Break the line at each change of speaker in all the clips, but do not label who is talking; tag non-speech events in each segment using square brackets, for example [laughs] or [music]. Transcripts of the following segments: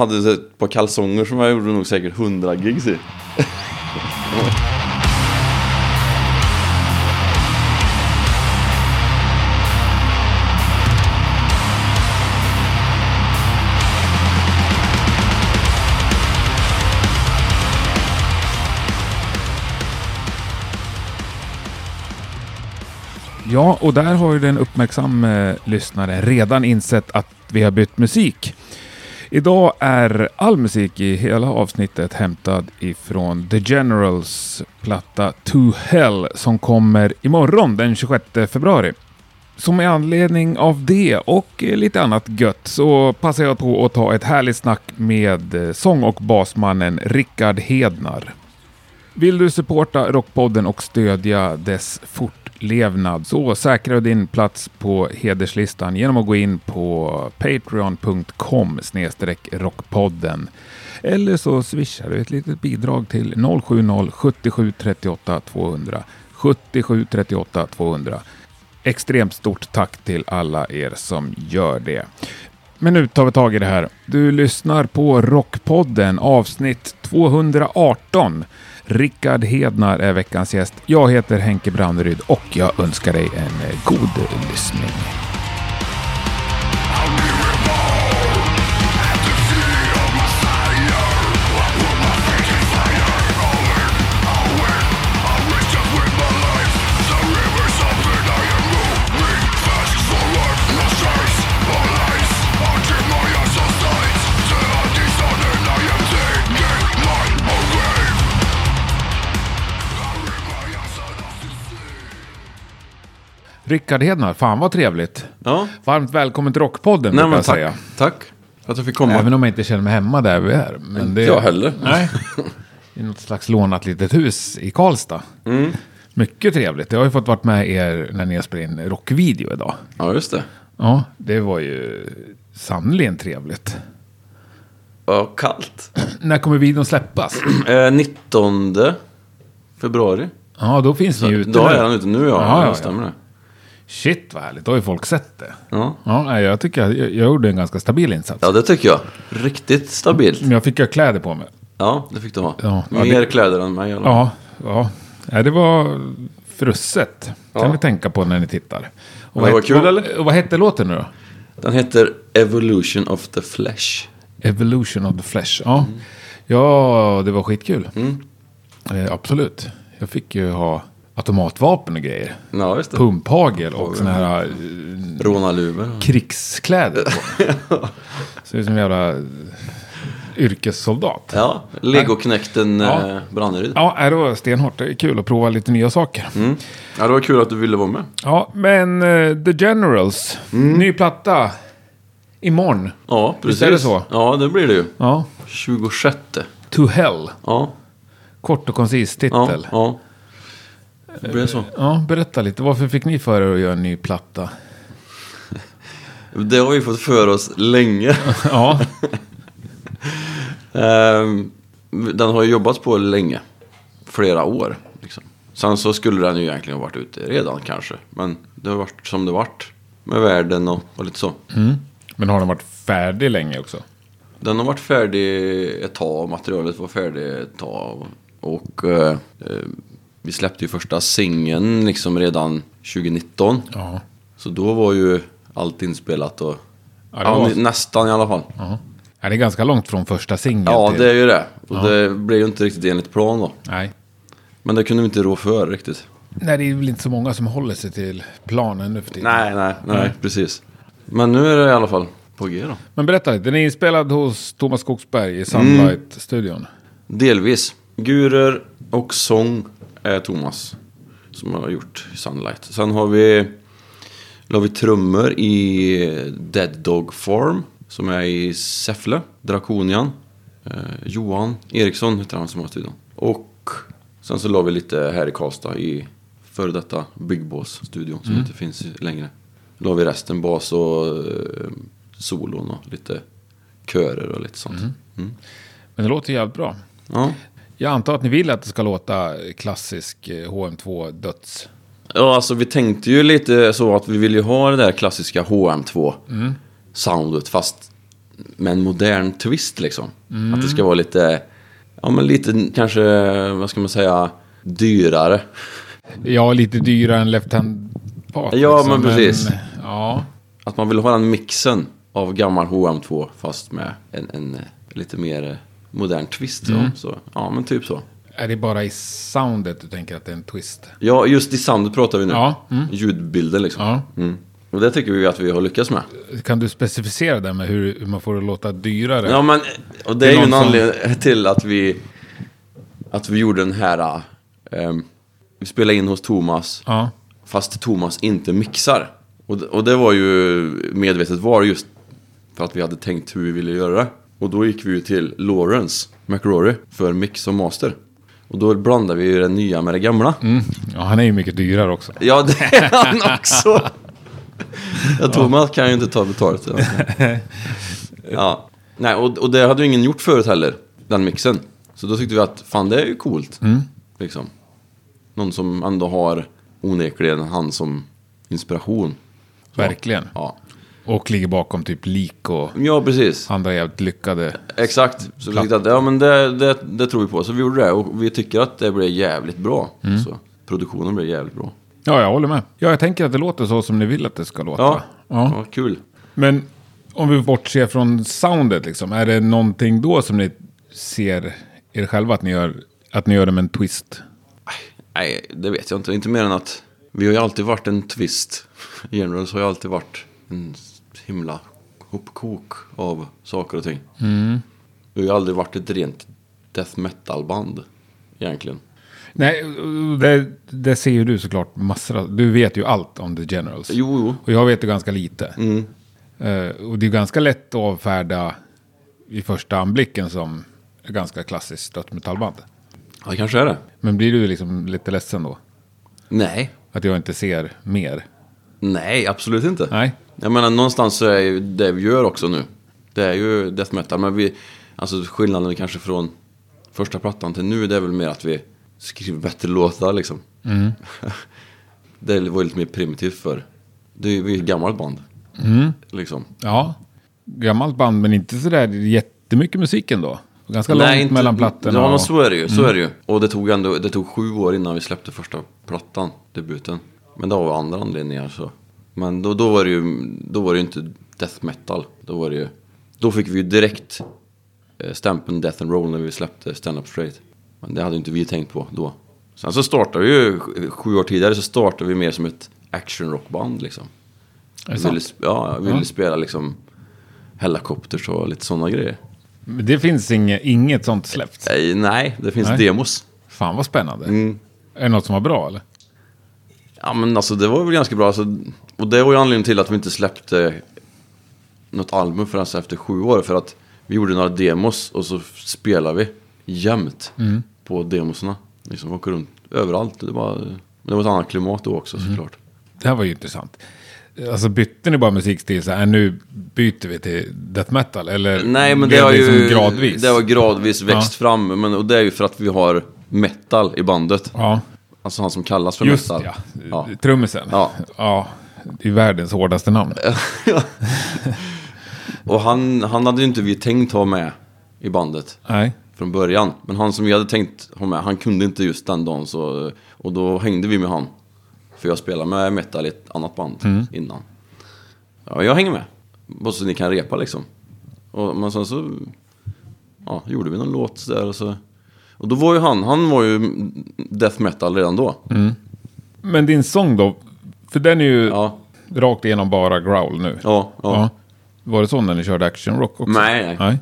Hade så ett par kalsonger som jag gjorde nog säkert 100 gigs i.
Ja, och där har ju den uppmärksamme lyssnare redan insett att vi har bytt musik. Idag är all musik i hela avsnittet hämtad ifrån The Generals platta To Hell som kommer imorgon den 26 februari. Som i anledning av det och eh, lite annat gött så passar jag på att ta ett härligt snack med eh, sång och basmannen Rickard Hednar. Vill du supporta Rockpodden och stödja dess fortlevnad så säkra din plats på hederslistan genom att gå in på patreon.com snedstreck rockpodden. Eller så swishar du ett litet bidrag till 070 77 38 200 77 38 200. Extremt stort tack till alla er som gör det. Men nu tar vi tag i det här. Du lyssnar på Rockpodden avsnitt 218. Rickard Hednar är veckans gäst. Jag heter Henke Branneryd och jag önskar dig en eh, god lyssning. Rickard Hednar, fan vad trevligt.
Ja,
Varmt välkommen till Rockpodden brukar jag
tack.
säga.
Tack att jag fick komma.
Även om jag inte känner mig hemma där vi är. Men det...
Jag heller.
Nej. I något slags lånat litet hus i Karlstad.
Mm.
Mycket trevligt. Jag har ju fått vara med er när ni har spelat in rockvideo idag.
Ja, just det.
Ja, det var ju sannerligen trevligt.
Ja, kallt. [clears throat]
När kommer videon släppas?
Eh, 19 februari.
Ja, då finns ni ju ute
Då
nu.
är han ute nu, ja.
Ja,
ja,
ja, ja.
stämmer det.
Shit vad härligt, då har ju folk sett det.
Ja.
Ja, nej, jag tycker jag, jag gjorde en ganska stabil insats.
ja, det tycker jag. Riktigt stabilt.
Men jag fick ju kläder på mig.
Ja, det fick du ha.
Ja, ja,
Mer kläder än mig. Ja.
Ja, ja. Nej, det var frusset. Kan
Ja.
vi tänka på när ni tittar. Och
det var
het-
kul,
och-
eller?
Och vad hette låten nu då?
Den heter Evolution of the Flesh.
Evolution of the Flesh. Ja,
Mm.
ja det var skitkul. Eh, absolut. Jag fick ju ha automatvapen och grejer.
Ja, just det.
Pumphagel och såna här eh,
Rånarluvor.
krigskläder på.
[laughs]
Ser ut som en jävla eh, yrkessoldat.
Ja, legoknekten
Ja.
eh, Branneryd.
Ja, nej, det var stenhårt. Det är kul att prova lite nya saker.
Mm. Ja, det var kul att du ville vara med.
Ja, men eh, The Generals.
Mm.
Ny platta. Imorgon.
Ja, precis.
är det så?
Ja, det blir det ju.
Ja.
26.
To Hell.
Ja,
Kort och koncis
ja,
titel. Ja.
ja. Det blir så.
berätta lite. Varför fick ni för er att göra en
[laughs]
ny platta?
Det har vi fått för oss [laughs] länge.
Ja,
Ehm, den har ju jobbats på länge. Flera år. Liksom. Sen så skulle den ju egentligen ha varit ute redan kanske. Men det har varit som det varit. Med världen och, och lite så.
men har den varit färdig länge också?
Den har varit färdig ett tag. Materialet var färdigt ett tag. Och eh, eh, vi släppte ju första singeln liksom redan 2019.
Ja.
Så då var ju allt inspelat och...
Ja, det
Ja,
var-
Nästan i alla fall.
ja. Ja, det är ganska långt från första singeln
Ja,
till...
det är ju det. Och det blev ju inte riktigt enligt plan då.
Nej.
Men det kunde vi inte rå för riktigt.
Nej, det är väl inte så många som håller sig till planen nu för tiden.
Nej, nej, nej, precis. Men nu är det i alla fall på G då.
Men berätta lite. Den är inspelad hos
Mm.
Thomas Skogsberg i Sunlight-studion.
Delvis. Gurer och sång är Thomas som har gjort Sunlight. Sen har vi, la vi trummor i Dead Dog Farm som är i Säffle, Draconian. Eh, Johan Eriksson heter han som har studion. Och sen så la vi lite här i Karlstad i före detta Big Boss studion som inte finns längre. La vi resten bas och eh, solon och lite körer och lite sånt. Mm.
Men det låter jävligt bra.
Ja.
Jag antar att ni vill att det ska låta klassisk eh, HM2 döds.
Ja, alltså vi tänkte ju lite så att vi vill ju ha det där klassiska HM2 soundet fast med en modern twist liksom.
Mm.
Att det ska vara lite, ja men lite kanske, vad ska man säga, dyrare.
Ja, lite dyrare än Left Hand Park.
Ja, men precis.
eh, ja.
Att man vill ha den mixen av gammal HM2 fast med en, en eh, lite mer eh, modern twist. så.
Mm.
Så, ja, men typ så.
Är det bara i soundet du tänker att det är en twist?
Ja, just i soundet pratar vi nu.
Ja, mm.
Ljudbilden liksom.
Ja.
Mm. Och det tycker vi att vi har lyckats med.
Kan du specificera det med hur hur man får det låta dyrare?
Ja, men och det är
är
ju en
någon som-
anledning till att vi, att vi gjorde den här... ehm, vi spelade in hos Thomas,
Ja.
fast Thomas inte mixar. Och, det- och det var ju medvetet var just för att vi hade tänkt hur vi ville göra det. Och då gick vi ju till Lawrence McRory för mix och master. Och då blandade vi ju det nya med det gamla.
Mm. ja, han är ju mycket dyrare också.
Ja, det är han också. Ja, Thomas kan ju inte ta betalt. Ja. Ja. Nej, och, och det hade ju ingen gjort förut heller, den mixen. Så då tyckte vi att fan, det är ju coolt. Liksom. Någon som ändå har onekligen han som inspiration.
Verkligen.
Ja,
Och ligger bakom typ lik och
ja precis.
andra jävligt lyckade.
Exakt. Så vi tyckte att ja, men det, det, det tror vi på. Så vi gjorde det och vi tycker att det blev jävligt bra. Så, produktionen blev jävligt bra.
Ja, jag håller med. Ja, jag tänker att det låter så som ni vill att det ska låta.
Ja,
ja.
ja kul.
Men om vi bortser från soundet, liksom, är det någonting då som ni ser er själva att ni gör, att ni gör det med en twist?
Nej, det vet jag inte. Inte mer än att vi har ju alltid varit en twist. Generals har ju alltid varit en himla hopkok av saker och ting. Vi har ju aldrig varit ett rent death metal-band egentligen.
Nej, det, det ser ju du såklart massor av. Du vet ju allt om The Generals.
Jo, jo.
Och jag vet ju ganska lite. Eh, och det är ganska lätt att avfärda i första anblicken som ett ganska klassiskt dödsmetallband.
Ja, det kanske är det.
Men blir du liksom lite ledsen då?
Nej.
Att jag inte ser mer?
Nej, absolut inte.
Nej.
Jag menar, någonstans så är ju det vi gör också nu. Det är ju death metal, men vi... Alltså skillnaden kanske från första plattan till nu, det är väl mer att vi skriver bättre låtar liksom. [laughs] det var ju lite mer primitivt för Det är ju vi är ett gammalt band. Liksom.
Ja, gammalt band men inte sådär jättemycket musik ändå. Ganska långt
inte-
mellan plattorna.
Ja, men
och- Mm.
så är det ju. Så är det ju. Och det tog, ändå, det tog sju år innan vi släppte första plattan, debuten. Men det var av andra anledningar så. Men då, då var det ju då var det ju inte death metal. Då, var det ju, då fick vi ju direkt eh, stämpeln death and roll när vi släppte stand up straight. Men det hade ju inte vi tänkt på då. Sen så startade vi ju, sj- sju år tidigare så startade vi mer som ett action rockband liksom.
Är det
Vi ville,
sant?
sp- ja, vi ville
Ja.
spela liksom Hellacopters och lite sådana grejer.
Men det finns inget, inget sånt släppt.
Eh, Nej, det finns
Nej.
demos.
Fan vad spännande.
Mm.
Är det något som var bra eller?
Ja men alltså det var väl ganska bra. Alltså, och det var ju anledningen till att vi inte släppte något album förrän så efter sju år. För att vi gjorde några demos och så spelade vi jämt
Mm.
på demoserna. Liksom vi åker runt överallt. Det var, men det var ett annat klimat då
Mm.
också såklart.
Det här var ju intressant. Alltså bytte ni bara musikstil så här, nu byter vi till death metal? Eller
Nej men
blev
det har
liksom
ju
gradvis?
det har gradvis växt fram. Men, och det är ju för att vi har metal i bandet.
Ja,
Alltså han som kallas för
just
metal.
ja.
Ja.
Trummisen.
Ja. Äh.
ja. Det är världens hårdaste namn.
Och han, han hade ju inte vi tänkt ha med i bandet.
Nej.
från början. Men han som vi hade tänkt ha med, han kunde inte just den dagen så, och då hängde vi med han. För jag spelade med metal i ett annat band innan. Ja, jag hänger med. Bara så ni kan repa liksom. Och, men sen så ja, gjorde vi någon låt där och så. Och då var ju han, han var ju death metal redan då.
Men din sång då? För den är ju
Ja,
rakt igenom bara growl nu.
ja, ja.
Ja. Var det så när ni körde action rock också?
Nej, nej.
nej.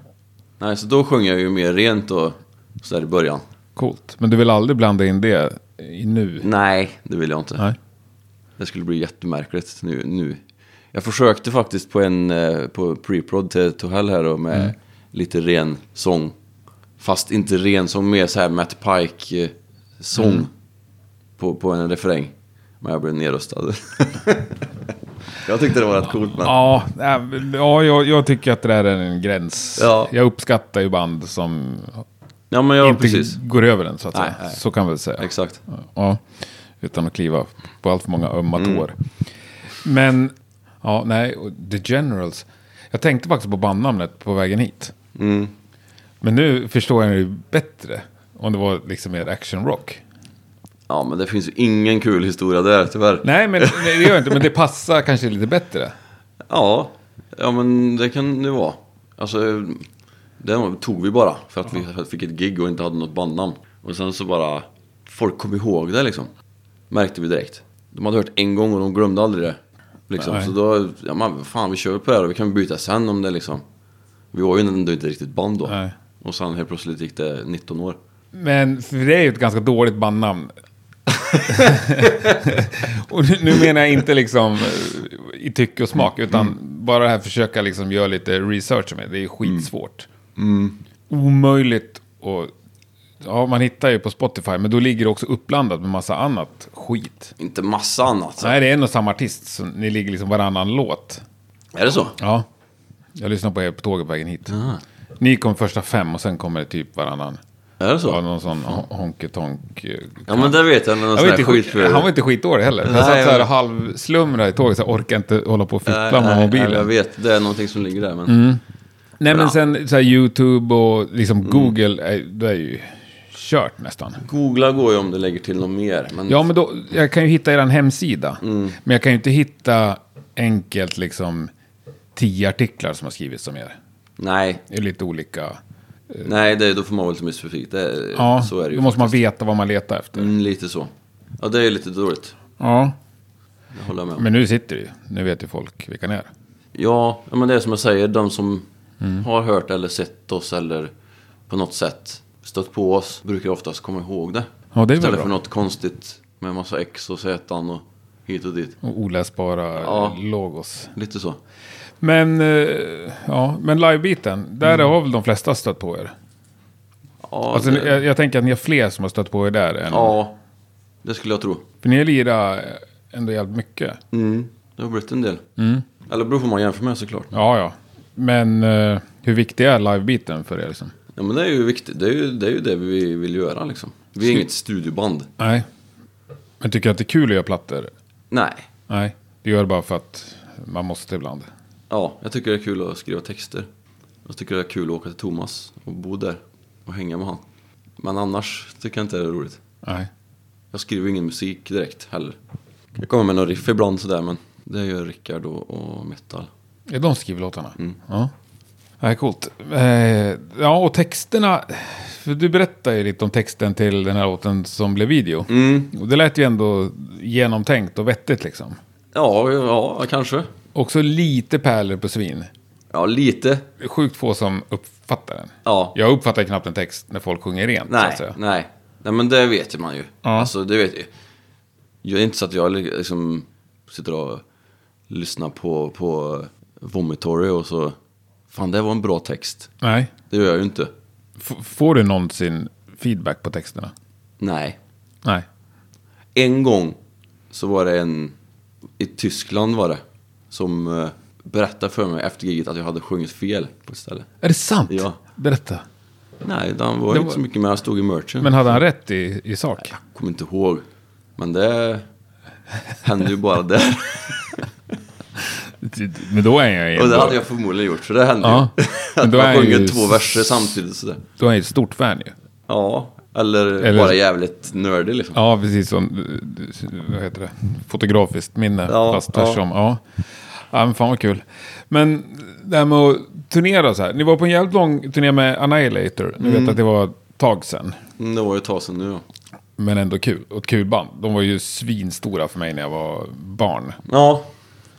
Nej, så då sjöng jag ju mer rent och sådär i början.
Coolt. Men du vill aldrig blanda in det i nu?
Nej, det vill jag inte.
Nej.
Det skulle bli jättemärkligt nu. nu. Jag försökte faktiskt på en eh, på pre-prod till Tohell här och
Mm.
med lite ren sång. Fast inte ren sång, mer så här Matt Pike-sång.
Mm.
På, på en refräng. Men jag blev nedröstad. [laughs] jag tyckte det var rätt coolt men...
Ja, nej, men- ja jag, jag tycker att det där är en gräns.
Ja.
Jag uppskattar ju band som
Ja men ja,
inte
precis.
går över den så att
Nej,
säga.
nej.
Så kan vi väl säga.
Exakt.
Ja, utan att kliva
Mm.
på allt för många ömma tår. Men, ja, nej, och The Generals. Jag tänkte faktiskt på bandnamnet på vägen hit.
Mm.
Men nu förstår jag det ju bättre. Om det var liksom mer actionrock.
Ja, men det finns ju ingen kul historia där tyvärr.
Nej, men nej, det gör jag inte. Men det passar kanske lite bättre.
Ja, ja men det kan det vara. Alltså, det tog vi bara för att vi fick ett gig och inte hade något bandnamn. Och sen så bara, folk kom ihåg det liksom. Märkte vi direkt. De hade hört en gång och de glömde aldrig det. Liksom.
Nej.
Så då, ja men fan vi kör på det här och vi kan byta sen om det liksom. Vi var ju ändå inte riktigt band då.
Nej.
Och sen helt plötsligt gick det 19 år.
Men för det är ju ett ganska dåligt bandnamn. och nu- nu menar jag inte liksom eh, i tycke och smak, utan bara det här försöka liksom göra lite research med. Det är skitsvårt. Omöjligt och... Ja, man hittar ju på Spotify, men då ligger det också uppblandat med massa annat skit.
Inte massa annat.
Nej, det är en och samma artist, så ni ligger liksom varannan låt.
Är det så?
Ja. Jag lyssnade på er på tåget på vägen hit. Ni kom första fem och sen kommer det typ varannan.
Är det så?
Ja, någon sån hon- honky-tonk. eh,
Ja men det vet jag. Någon
Jag
sån
var
här
inte,
skit
skit,
för...
han var inte skitdålig heller.
Nej,
jag satt så här
jag-
halvslumrad i tåget, så jag orkade inte hålla på och
Nej,
fippla med
nej,
mobilen.
Jag
Nej,
vet, det är någonting som ligger där men...
men
Ja. Mm.
sen så här, YouTube och liksom Google, är, det är ju kört nästan.
Googla går ju om du lägger till något mer. Men
Ja, men då, jag kan ju hitta er hemsida.
Mm.
Men jag kan ju inte hitta enkelt liksom tio artiklar som har skrivits om er.
nej,
Det är lite olika.
nej det, då får man vara lite mer specifik. Det,
Ja,
så är det ju.
då måste man veta vad man letar efter.
mm, lite så. Ja, det är ju lite dåligt.
Ja,
Det håller jag med om.
men nu sitter det ju. Nu vet ju folk vilka ni är.
Ja, ja, men det är som jag säger. De som
Mm.
har hört eller sett oss eller på något sätt stött på oss brukar oftast komma ihåg det.
Ja, det är väl
Istället
bra.
för något konstigt med massa X och Z och hit och dit.
Och oläsbara
Ja.
logos.
Lite så.
Men, eh, ja, men livebiten, där har väl de flesta stött på er?
Mm. Ja,
Alltså,
det,
jag, jag tänker att ni har fler som har stött på er där. Än,
ja, det skulle jag tro.
För ni har lirat ändå jävligt mycket.
Mm. Det har blivit en del.
Mm.
Eller beror på vad man jämför med såklart.
Ja, ja. Men eh, hur viktig är livebiten för er? Liksom?
Ja men det är ju viktigt, det är ju det, är ju det vi vill göra liksom. Vi är inget studioband.
Nej. Men tycker jag att det är kul att göra plattor?
Nej.
Nej. Du gör det bara för att man måste ibland.
Ja, jag tycker det är kul att skriva texter. Jag tycker det är kul att åka till Thomas och bo där och hänga med han. Men annars tycker jag inte det är roligt.
Nej.
Jag skriver ingen musik direkt heller. Jag kommer med några riff ibland sådär men det gör Rickard och, och metal.
Är de skriver låtarna?
Mm.
Ja. Ja, coolt. Eh, ja, och texterna. För du berättade ju lite om texten till den här låten som blev video.
Mm.
Och det lät ju ändå genomtänkt och vettigt liksom.
Ja, ja, kanske.
Också lite pärlor på svin.
Ja, lite.
Det är Sjukt få som uppfattar den.
Ja.
Jag uppfattar knappt en text när folk sjunger rent. Så
Nej,
att säga.
nej. Nej, men det vet ju man ju.
Ja.
Alltså, det vet jag. jag är inte så att jag liksom sitter och lyssnar på, på Vomitory och så... Fan, det var en bra text.
Nej.
Det gör jag ju inte.
F- får du någonsin feedback på texterna?
Nej.
Nej.
En gång så var det en... I Tyskland var det. Som eh, berättade för mig efter giget att jag hade sjungit fel på ett ställe.
Är det sant?
Ja.
Berätta.
Nej, han var
Det
inte
var-
så mycket med. Han stod i merchen.
Men hade han rätt i, i sak?
Jag kommer inte ihåg. Men det hände ju bara där.
Men då är jag ju
Och det
ändå-
hade jag förmodligen gjort, för det hände [laughs]
Ja.
ju.
Men
Att
då är
man
han
sjunger
ju-
två verser samtidigt sådär.
Då är jag ju ett stort fan ju.
Ja, eller,
Eller-
bara jävligt nördig liksom.
Ja, precis som, vad heter det, fotografiskt minne.
Ja,
fast
ja.
tvärtom. Ja. ja, men fan vad kul. Men det här med att turnera så här. Ni var på en jävligt lång turné med Annihilator. Ni vet att det var ett tag sedan.
Mm, Det var ju ett tag sedan nu ja.
Men ändå kul. Och ett kul band. De var ju svinstora för mig när jag var barn.
ja.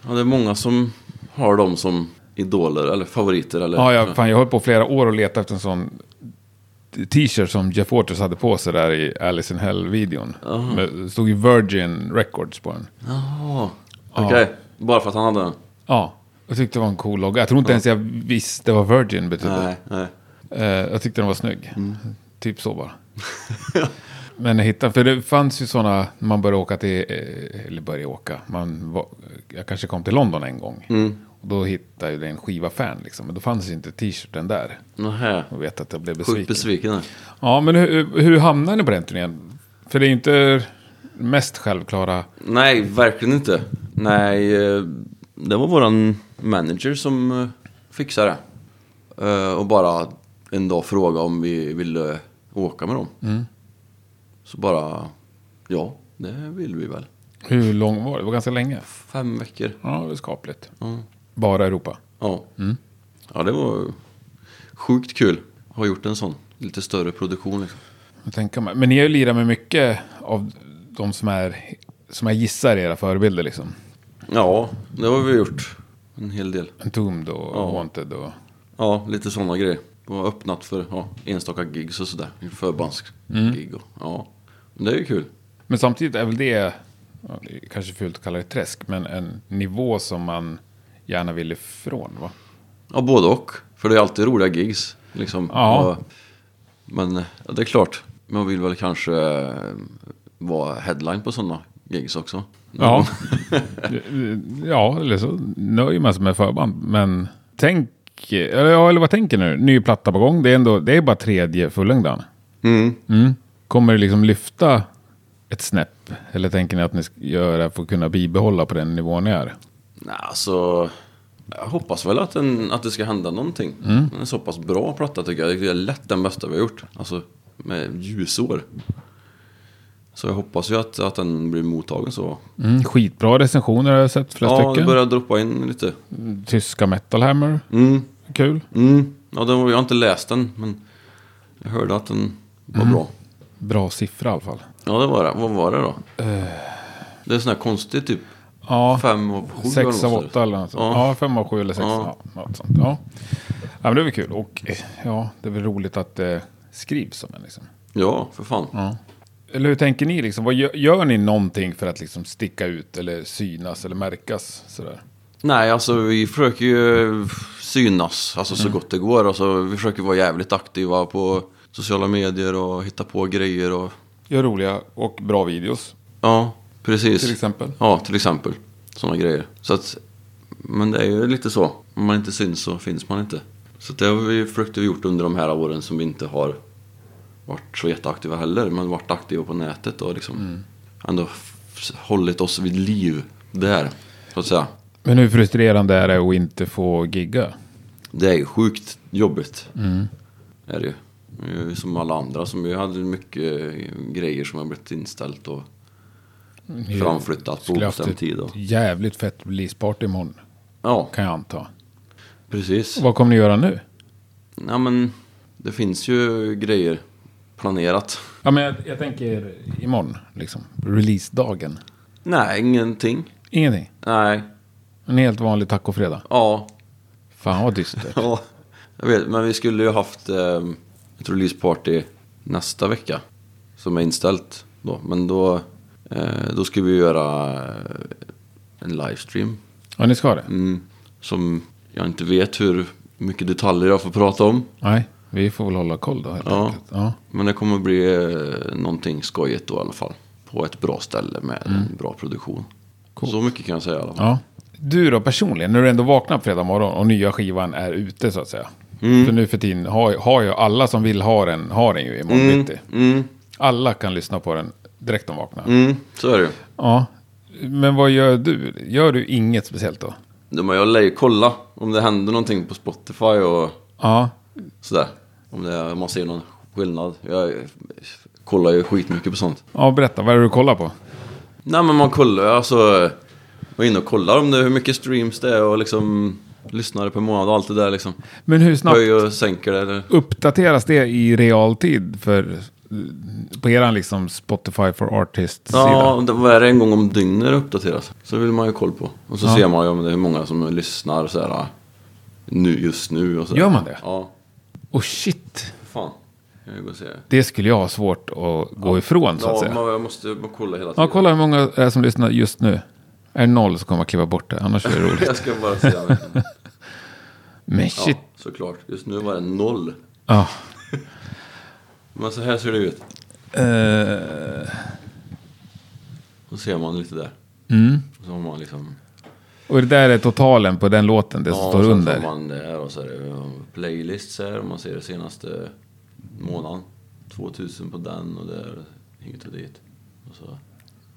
Ja, det är många som har dem som idoler eller favoriter eller...
Ja, jag, fan, jag höll på flera år och letade efter en sån t-shirt som Jeff Waters hade på sig där i Alice in Hell-videon. Med- Det stod ju Virgin Records på den.
Jaha. Okej, bara för att han hade den?
Ja, jag tyckte det var en cool logga. Jag tror inte ens jag visste vad Virgin betydde.
Nej, Mm. nej.
Eh, jag tyckte den var snygg. Typ
[laughs]
så bara. Men jag hittade, för det fanns ju sådana, när man började åka till, eh, eller började åka, man var, jag kanske kom till London en gång.
Mm.
Och då hittade jag en skiva fan liksom, men då fanns ju inte t-shirten där.
Nähä.
Jag vet att jag blev besviken.
Sjukt besviken här.
Ja, men hur, hur hamnade ni på den turnén? För det är ju inte mest självklara.
Nej, verkligen inte. Nej, eh, det var våran manager som eh, fixa det. Eh, och bara en dag fråga om vi ville åka med dem. Så bara, ja, det vill vi väl.
Hur lång var det? Det var ganska länge.
Fem veckor.
Ja, det var skapligt.
Ja.
Bara Europa.
Ja. ja, det var sjukt kul. Har gjort en sån lite större produktion liksom.
Jag tänker mig. Men ni har ju lirat med mycket av de som är, som jag gissar är era förebilder liksom.
Ja, det har vi gjort. En hel del.
Entombed och
Ja.
Wanted och...
Ja, lite sådana grejer. Det var öppnat för ja, enstaka gigs och sådär. Förbandsgig och ja. Men det är ju kul.
Men samtidigt är väl det, ja, det är kanske fult att kalla det träsk, men en nivå som man gärna vill ifrån va?
Ja, både och. För det är alltid roliga gigs. Liksom.
Ja.
Och, men ja, det är klart, man vill väl kanske eh, vara headline på sådana gigs också.
Ja. Mm. [laughs] ja, eller så nöjer man sig med förband. Men tänk, eller, ja, eller vad tänker ni nu? Ny platta på gång. Det är, ändå, det är bara tredje fullängdaren.
Mm.
Mm. Kommer det liksom lyfta ett snäpp? Eller tänker ni att ni ska göra för att kunna bibehålla på den nivån ni är?
Nej, alltså... Jag hoppas väl att, den, att det ska hända någonting.
Mm.
En så pass bra platta tycker jag. Det är lätt den bästa vi har gjort. Alltså, med ljusår. Så jag hoppas ju att, att den blir mottagen så.
Mm. Skitbra recensioner har jag sett, flera
Ja, det
stycken.
börjar droppa in lite.
Tyska Metal Hammer,
Mm,
kul.
mm. Ja, den, var- jag har inte läst den, men jag hörde att den var
Mm.
bra.
Bra siffra i alla fall.
Ja, det var det. Vad var det då?
Eh.
Det är sån här konstig typ.
Ja,
Fem av sju
sex
eller
av
något sånt.
åtta eller något sånt.
Ja.
Ja, fem av sju eller sex. Ja.
Ja.
något sånt. Ja. ja, men det är väl kul. Och eh, ja, det är väl roligt att det skrivs om en liksom.
Ja, för fan.
Ja. Eller hur tänker ni liksom? Vad gör, gör ni någonting för att liksom sticka ut eller synas eller märkas sådär?
Nej, alltså vi försöker ju synas alltså,
Mm.
så gott det går. Alltså, vi försöker vara jävligt aktiva på sociala medier och hitta på grejer. Och...
Gör roliga och bra videos
Ja, precis.
till exempel.
Ja, till exempel. Sådana grejer. Så att, men det är ju lite så. Om man inte syns så finns man inte. Så det har vi försökt att gjort under de här åren som vi inte har varit så jätteaktiva heller. Men varit aktiva på nätet och liksom
Mm.
ändå f- hållit oss vid liv där. Så att säga.
Men hur frustrerande är det att inte få gigga?
Det är ju sjukt jobbigt.
Mm.
Är det ju. Det är ju Som alla andra som ju hade mycket eh, grejer som har blivit inställt och
Ni
framflyttat på
skulle haft
obestämd
ett
tid. Och...
jävligt fett releaseparty imorgon,
Ja,
kan jag anta.
precis.
Vad kommer ni göra nu?
Ja, men det finns ju grejer planerat.
Ja, men jag, jag tänker imorgon, liksom. Releasedagen.
Nej, ingenting.
Ingenting.
Nej,
En helt vanlig tacofredag.
ja.
Fan vad dystert.
ja. Jag vet, men vi skulle ju haft eh, ett releaseparty nästa vecka. Som är inställt då. Men då, eh, då ska vi göra eh, en livestream
Ja, ni ska det?
Mm, som jag inte vet hur mycket detaljer jag får prata om.
Nej, vi får väl hålla koll då helt
Ja.
enkelt. Ja.
Men det kommer bli eh, någonting skojigt då i alla fall. På ett bra ställe med en bra produktion. Så mycket kan jag säga i alla fall.
ja. Du då personligen, när du ändå vaknar på fredag morgon och nya skivan är ute så att säga.
Mm.
För nu för tiden har, har ju alla som vill ha den, har den ju imorgon bitti.
Mm,
Alla kan lyssna på den direkt de vaknar.
mm, så är det ju.
Ja. Men vad gör du? Gör du inget speciellt då?
Ja, men Jag lär ju kolla om det händer någonting på Spotify och
Ja.
sådär. Om det, man ser någon skillnad. Jag eh, kollar ju skitmycket på sånt.
Ja, berätta. Vad är det du kollar på?
Nej men man kollar ju alltså... eh, Man är inne och kollar om det, hur mycket streams det är och liksom lyssnare per månad och allt det där liksom.
Men hur snabbt
Höjer och sänker det eller?
uppdateras det i realtid för, på eran liksom Spotify for Artists-sida?
Ja, det var det en gång om dygnet det uppdateras. Så vill man ju koll på. Och så ser man ju om det är hur många som lyssnar så här, nu, just nu och så. här.
Gör man det?
Ja,
Och Oh, shit,
fan. Jag vill gå och se.
det skulle jag ha svårt att gå ifrån så att
Ja,
säga.
man, jag måste man kolla hela tiden.
Ja, kolla hur många det är som lyssnar just nu. Är det noll så kommer jag kliva bort det, annars är
[laughs]
det roligt.
Jag ska bara
[laughs]
se. Ja,
Men shit.
såklart. Just nu var det noll.
Ja.
Men så här ser det ut.
Eh,
Då ser man lite där.
mm.
Så har man liksom...
Och det där är totalen på den låten, det som
Ja,
står
och sen
under.
får man det här och så är det ja, playlists här. och Man ser det senaste månaden. 2000 på den och där. Hit och dit. Och så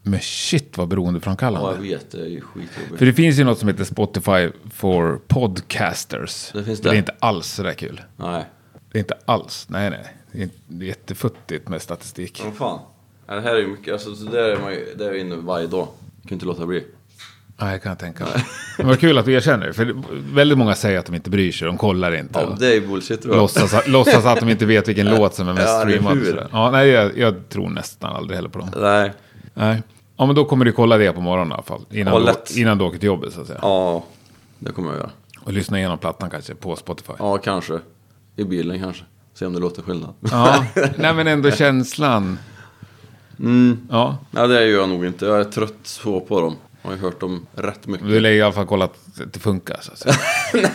Men shit vad beroendeframkallande.
Ja, jag vet. Det är ju
För
skitjobbigt.
det finns ju något som heter Spotify for podcasters.
Det finns
Men
det.
är inte alls sådär kul.
Nej.
Det är inte alls, nej nej. Det är inte- Det är jättefuttigt med statistik.
Vad fan. Ja, Det här är ju mycket, alltså så där är man ju, där är jag inne varje dag. Jag kan inte låta bli.
Nej, jag kan jag tänka mig. [laughs] Men vad kul att du erkänner det, För det- väldigt många säger att de inte bryr sig, de kollar inte.
Ja,
och
det är ju bullshit tror jag.
låtsas, låtsas att de inte vet vilken låt som är
[laughs]
mest
Ja, eller
streamad. och
hur?
sådär. Ja, nej, jag, jag tror nästan aldrig heller på dem.
Nej.
Nej. Ja, men då kommer du kolla det på morgonen i alla fall.
Ja,
Innan,
lätt.
du, innan du åker till jobbet så att säga.
Ja, det kommer jag göra.
Och lyssna igenom plattan kanske på Spotify.
Ja, kanske. I bilen kanske. Se om det låter skillnad.
Ja, nej men ändå känslan.
Mm.
Ja,
[laughs] Nej, det gör jag nog inte. Jag är trött så på dem. Jag har ju hört dem rätt mycket.
du lär ju i alla fall kolla att det funkar. Så
[laughs]
att säga.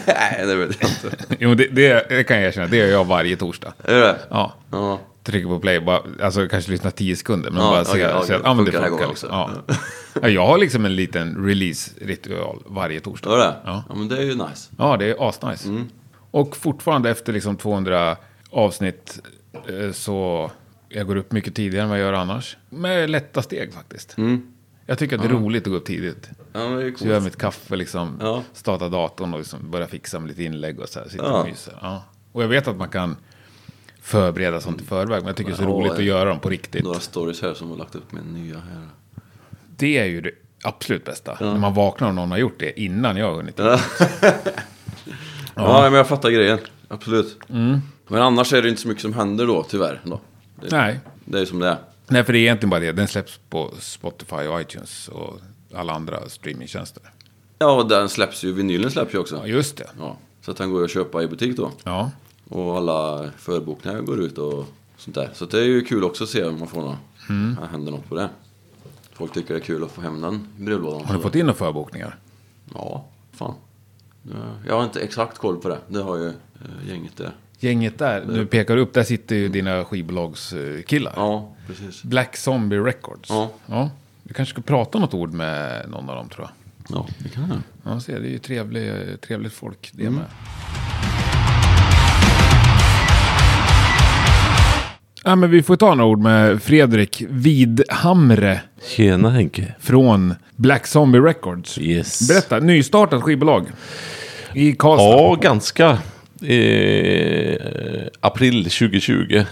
Nej, det vet jag inte.
Jo, det, det, det kan jag erkänna, det gör jag varje torsdag.
Är det det?
Ja,
Ja.
trycker på play, bara, alltså kanske lyssna 10 sekunder, men
Ja,
bara se,
okej, okej.
se att ja, men det
Funkar det här
funkar.
gången
Liksom. Ja. Ja, jag har liksom en liten release-ritual varje torsdag.
Är det? Mm.
Ja.
Ja. men det är ju nice.
Ja, det är asnice. Och fortfarande efter liksom 200 avsnitt eh, så jag går upp mycket tidigare än vad jag gör annars. Med lätta steg faktiskt.
Mm.
Jag tycker att det är roligt att gå upp tidigt.
Ja, men det är coolt.
Så gör jag mitt kaffe, liksom,
Ja.
startar datorn och liksom börjar fixa med lite inlägg och så här. Sitter
Ja.
och myser. Ja. Och jag vet att man kan förbereda sånt i förväg, men jag tycker det är så
Ja,
roligt att
ja.
göra dem på riktigt.
Några stories här som har lagt upp med nya här.
Det är ju det absolut bästa. När man vaknar och någon har gjort det innan jag har hunnit.
Ja. ja, men jag fattar grejen. Absolut.
Mm.
Men annars är det inte så mycket som händer då, tyvärr. Då. Det,
Nej.
det är som det är.
Nej, för det är egentligen bara det. Den släpps på Spotify och iTunes och alla andra streamingtjänster.
Ja, och den släpps ju. Vinylen släpps ju
Ja,
också.
just det.
Ja, så att den går ju att köpa i butik då.
Ja,
Och alla förbokningar går ut och sånt där. Så det är ju kul också att se om man får något. Mm. Händer något på det. Folk tycker det är kul att få hem den i brevlådan.
har du fått in några förbokningar?
Ja, fan. Ja, Jag har inte exakt koll på det. Det har ju eh, gänget där.
Gänget där, nu pekar du upp, där sitter ju dina skivbolagskillar.
Ja, precis.
Black Zombie Records.
Ja.
ja. Du kanske ska prata något ord med någon av dem tror jag.
Ja, det kan jag.
Ja, ser, det är ju trevlig, trevligt folk
Mm.
det med. Ja, men vi får ta några ord med Fredrik Vidhamre
Tjena Henke.
från Black Zombie Records.
Yes.
Berätta, nystartat skivbolag i Karlstad.
Ja, ganska. Eh, april 2020.
Ja.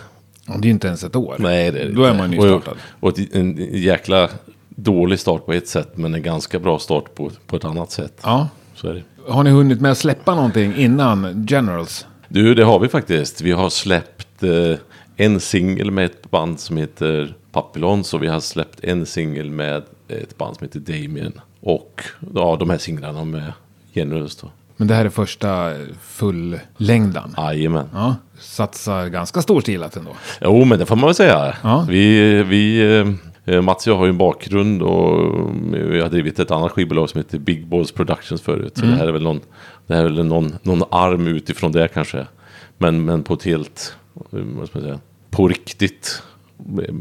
Det är ju inte ens ett år.
Nej, det,
Då är
inte.
man nystartad.
Och, och ett, en jäkla dålig start på ett sätt, men en ganska bra start på, på ett annat sätt.
Ja.
Så är det.
Har ni hunnit med att släppa någonting innan Generals?
Du, det har vi faktiskt. Vi har släppt eh, en singel med ett band som heter Papillons och vi har släppt en singel med ett band som heter Damien. Och ja, de här singlarna med Generous då.
Men det här är första fullängdan.
Jajamän.
Ja, satsar ganska storstilat ändå.
Jo, men det får man väl säga.
Ja.
Vi, vi, eh, Mats och jag har ju en bakgrund och eh, vi har drivit ett annat skivbolag som heter Big Balls Productions förut. Så det här är väl någon, det här är väl någon, någon arm utifrån det kanske. Men, men på ett helt, eh, vad ska man säga, på riktigt eh,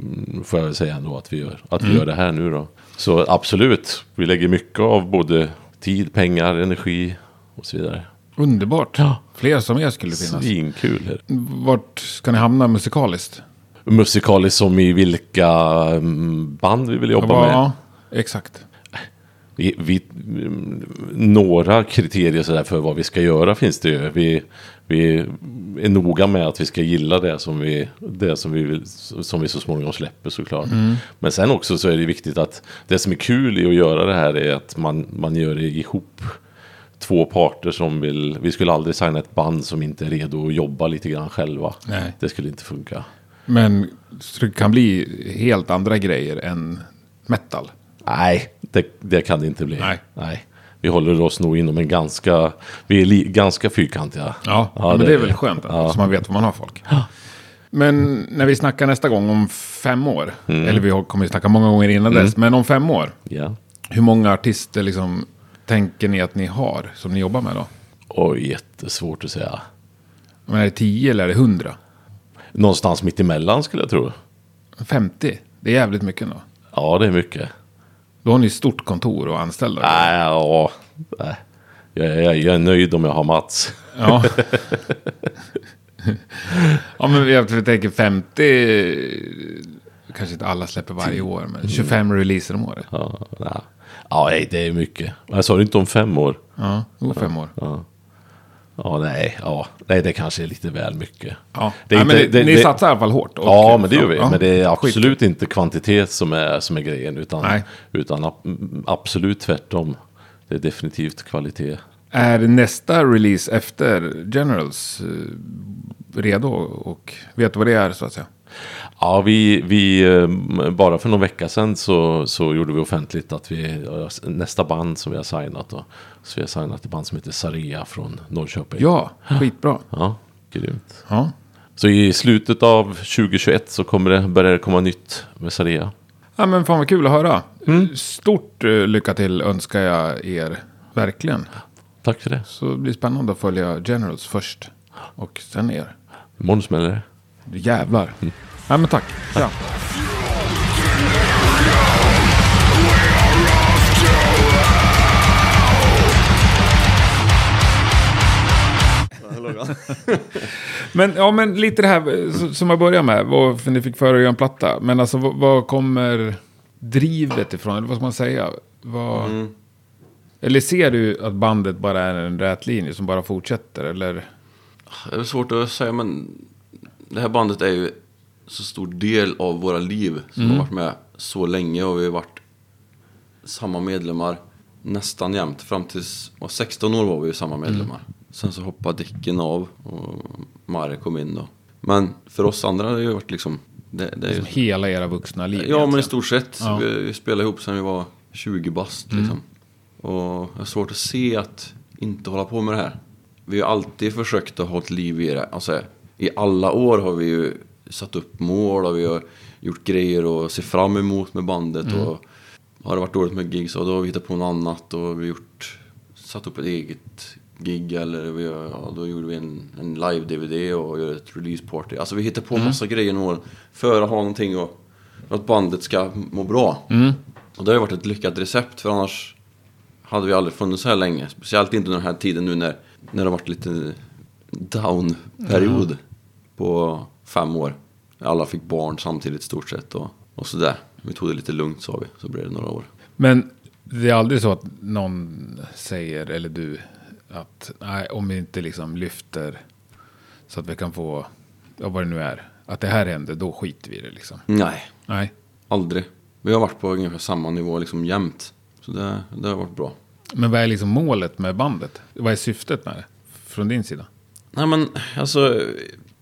får jag väl säga ändå att vi gör, att vi gör det här nu då. Så absolut, vi lägger mycket av både tid, pengar, energi och så vidare.
Underbart. Fler som er skulle finnas.
Svinkul är det.
Vart ska ni hamna musikaliskt?
musikaliskt som i vilka mm, band vi vill jobba med.
Ja, exakt.
Vi, vi, mm, några kriterier sådär för vad vi ska göra finns det ju. Vi, vi är noga med att vi ska gilla det som vi, det som vi, vill, som vi så småningom släpper såklart.
Mm.
Men sen också så är det viktigt att det som är kul i att göra det här är att man, man gör det ihop. Två parter som vill, vi skulle aldrig signa ett band som inte är redo att jobba lite grann själva.
Nej.
Det skulle inte funka.
Men så det kan bli helt andra grejer än metal.
Nej, det, det kan det inte bli.
Nej.
Vi håller oss nog inom en ganska... Vi är li, ganska fyrkantiga.
Ja, men det, är väl skönt ändå, så man vet vad man har folk. Men när vi snackar nästa gång om fem år, eller vi har- kommer ju snacka många gånger innan dess, men om fem år,
Ja.
hur många artister liksom tänker ni att ni har som ni jobbar med då?
Oj, jättesvårt att säga.
Men är det 10 eller är det 100?
Någonstans mitt emellan skulle jag tro.
50? Det är jävligt mycket då.
Ja, det är mycket.
Då har ni stort kontor och anställda.
Nej, ja. Nej. Jag, jag, jag är nöjd om jag har Mats.
Ja. [laughs] ja, men jag tänker 50 kanske inte alla släpper varje år, men 25 releaser om året.
Ja, nej. ja nej, det är mycket. Jag sa det inte om fem år.
Ja, jo, fem år.
Ja, ja nej, ja. nej, det kanske är lite väl mycket.
Ja.
Det är
ja,
inte-
men det,
det-
ni
det-
satsar i alla fall hårt. och-
ja, men det gör vi.
ja.
Men det är absolut inte kvantitet som är, som är grejen, utan,
Nej.
utan ab- absolut tvärtom. Det är definitivt kvalitet.
Är nästa release efter Generals eh, redo och vet du vad det är så att säga?
Ja, vi, vi, eh, bara för någon vecka sedan så, så gjorde vi offentligt att vi, nästa band som vi har signat då, så vi har signat ett band som heter Saria från Norrköping.
Ja, skitbra.
ja grymt.
Ja.
Så i slutet av 2021 så kommer det börja komma nytt med Saria.
ja, men fan vad kul att höra. Stort eh, lycka till önskar jag er verkligen.
Tack för det.
Så det blir spännande att följa Generals först och sen er.
Imorgon smäller det.
Jävlar. Ja, men tack. Tja. Men, ja, men lite det här eh, s- som jag började med, vad- för ni fick för er att göra en platta. Men alltså, vad, vad kommer drivet ifrån? Eller vad ska man säga? Vad, Eller ser du att bandet bara är en rät linje som bara fortsätter? Eller?
Det är väl svårt att säga, men det här bandet är ju så stor del av våra liv som har varit med så länge och vi har varit samma medlemmar nästan jämt. Fram tills och 16 år var vi ju samma medlemmar. Sen så hoppade Dicken av och Mare kom in då. Men för oss andra har det ju varit liksom... Det, det är ju,
Hela era vuxna liv?
ja, men i
egentligen.
stort sett.
Ja. Mm.
Vi, vi spelade ihop sen vi var 20 bast liksom. Och det är svårt att se att inte hålla på med det här. Vi har alltid försökt att ha ett liv i det. Alltså, I alla år har vi ju satt upp mål och vi har gjort grejer att se fram emot med bandet.
Mm.
Och har det varit dåligt med gig så då har vi hittat på något annat och vi har gjort, satt upp ett eget gig eller vi, har- ja, då gjorde vi en, en live-DVD och gjorde ett release party. Alltså vi hittar på massa grejer genom åren för att ha någonting och för att bandet ska må bra. Och det har ju varit ett lyckat recept för annars hade vi aldrig funnits så här länge. Speciellt inte under den här tiden nu när, när det har varit lite down-period på fem år. Alla fick barn samtidigt i stort sett och, och sådär. Vi tog det lite lugnt sa vi, så blev det några år.
Men det är aldrig så att någon säger, eller du, att nej, om vi inte liksom lyfter så att vi kan få, ja, vad det nu är, att det här händer, då skiter vi i det liksom.
Nej,
Nej.
aldrig. Vi har varit på ungefär samma nivå liksom jämt. Så det, det har varit bra.
Men vad är liksom målet med bandet? Vad är syftet med det? Från din sida?
Nej men alltså,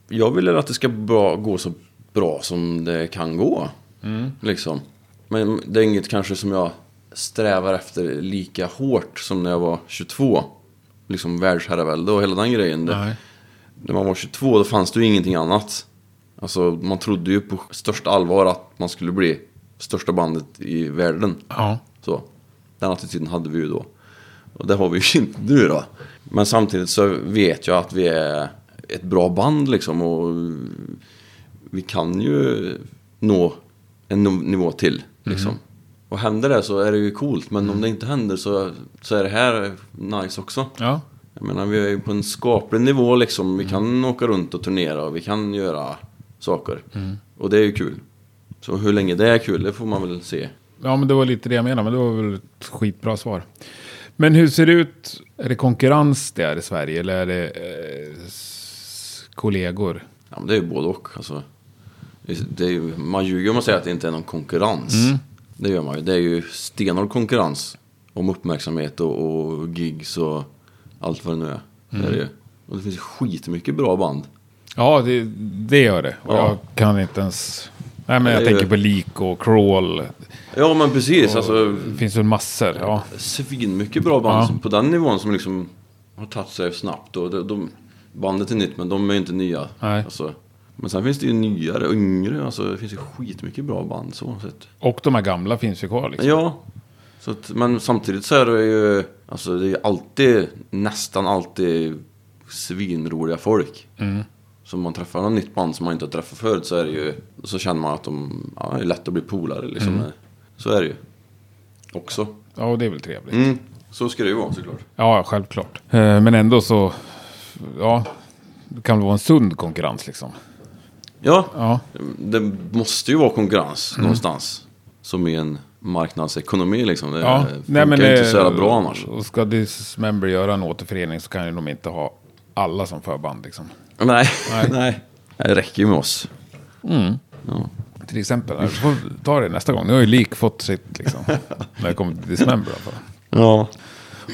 jag vill att det ska bra, gå så bra som det kan gå. Liksom. Men det är inget kanske som jag strävar efter lika hårt som när jag var 22. Liksom världsherravälde och hela den grejen. Det,
Nej.
när man var 22 då fanns det ju ingenting annat. Alltså man trodde ju på största allvar att man skulle bli största bandet i världen.
Ja.
Så. Den attityden hade vi ju då. Och det har vi ju [laughs] inte nu då. Men samtidigt så vet jag att vi är ett bra band liksom. Och vi kan ju nå en no- nivå till. Liksom. Och händer det så är det ju coolt. Men om det inte händer så, så är det här nice också.
Ja.
Jag menar, vi är ju på en skaplig nivå liksom. Vi kan åka runt och turnera och vi kan göra saker. Och det är ju kul. Så hur länge det är kul, det får man väl se.
Ja, men det var lite det jag menade, men det var väl ett skitbra svar. Men hur ser det ut? Är det konkurrens det är i Sverige eller är det eh, s- kollegor?
Ja, men det är ju både och. Alltså, det är ju, man ljuger om man säger att det inte är någon konkurrens.
Mm.
Det gör man ju. Det är ju stenhård konkurrens om uppmärksamhet och, och gigs och allt vad det nu är. Det är
Mm.
det ju. Och det finns ju skitmycket bra band.
Ja, det, det gör det. Och
Ja.
Jag kan inte ens... Nej, men
Det
jag
är ju-
tänker på lik och crawl.
Ja, men precis. Alltså,
Det finns väl massor. Ja.
svinmycket bra band
Ja.
som, på den nivån som liksom har tagit sig snabbt. Och de, de, bandet är nytt, men de är ju inte nya.
Nej.
Alltså, men sen finns det ju nyare och yngre. Alltså, det finns ju skitmycket bra band så sett.
Och de här gamla finns ju kvar. Liksom.
Ja. Så att, men samtidigt så är det ju alltså det är ju alltid, nästan alltid svinroliga folk. Så om man träffar något nytt band som man inte har träffat förut så är det ju, så känner man att de ja, är lätt att bli polare liksom. Så är det ju. Också.
Ja, och det är väl trevligt.
Mm. Så ska det ju vara såklart.
Ja, självklart. Eh, Men ändå så... Ja, det kan väl vara en sund konkurrens liksom.
Ja,
Ja.
det måste ju vara konkurrens någonstans. Som i en marknadsekonomi liksom. Det
Ja, eh,
funkar ju inte så jävla bra annars.
Och ska Dismember göra en återförening så kan ju de inte ha alla som förband liksom.
Nej, [laughs] nej. Det räcker ju med oss. Ja.
Till exempel. Vi får ta det nästa gång. Nu har ju Lik fått
[laughs]
sitt liksom. När det kommer till Dismember i alla fall.
ja.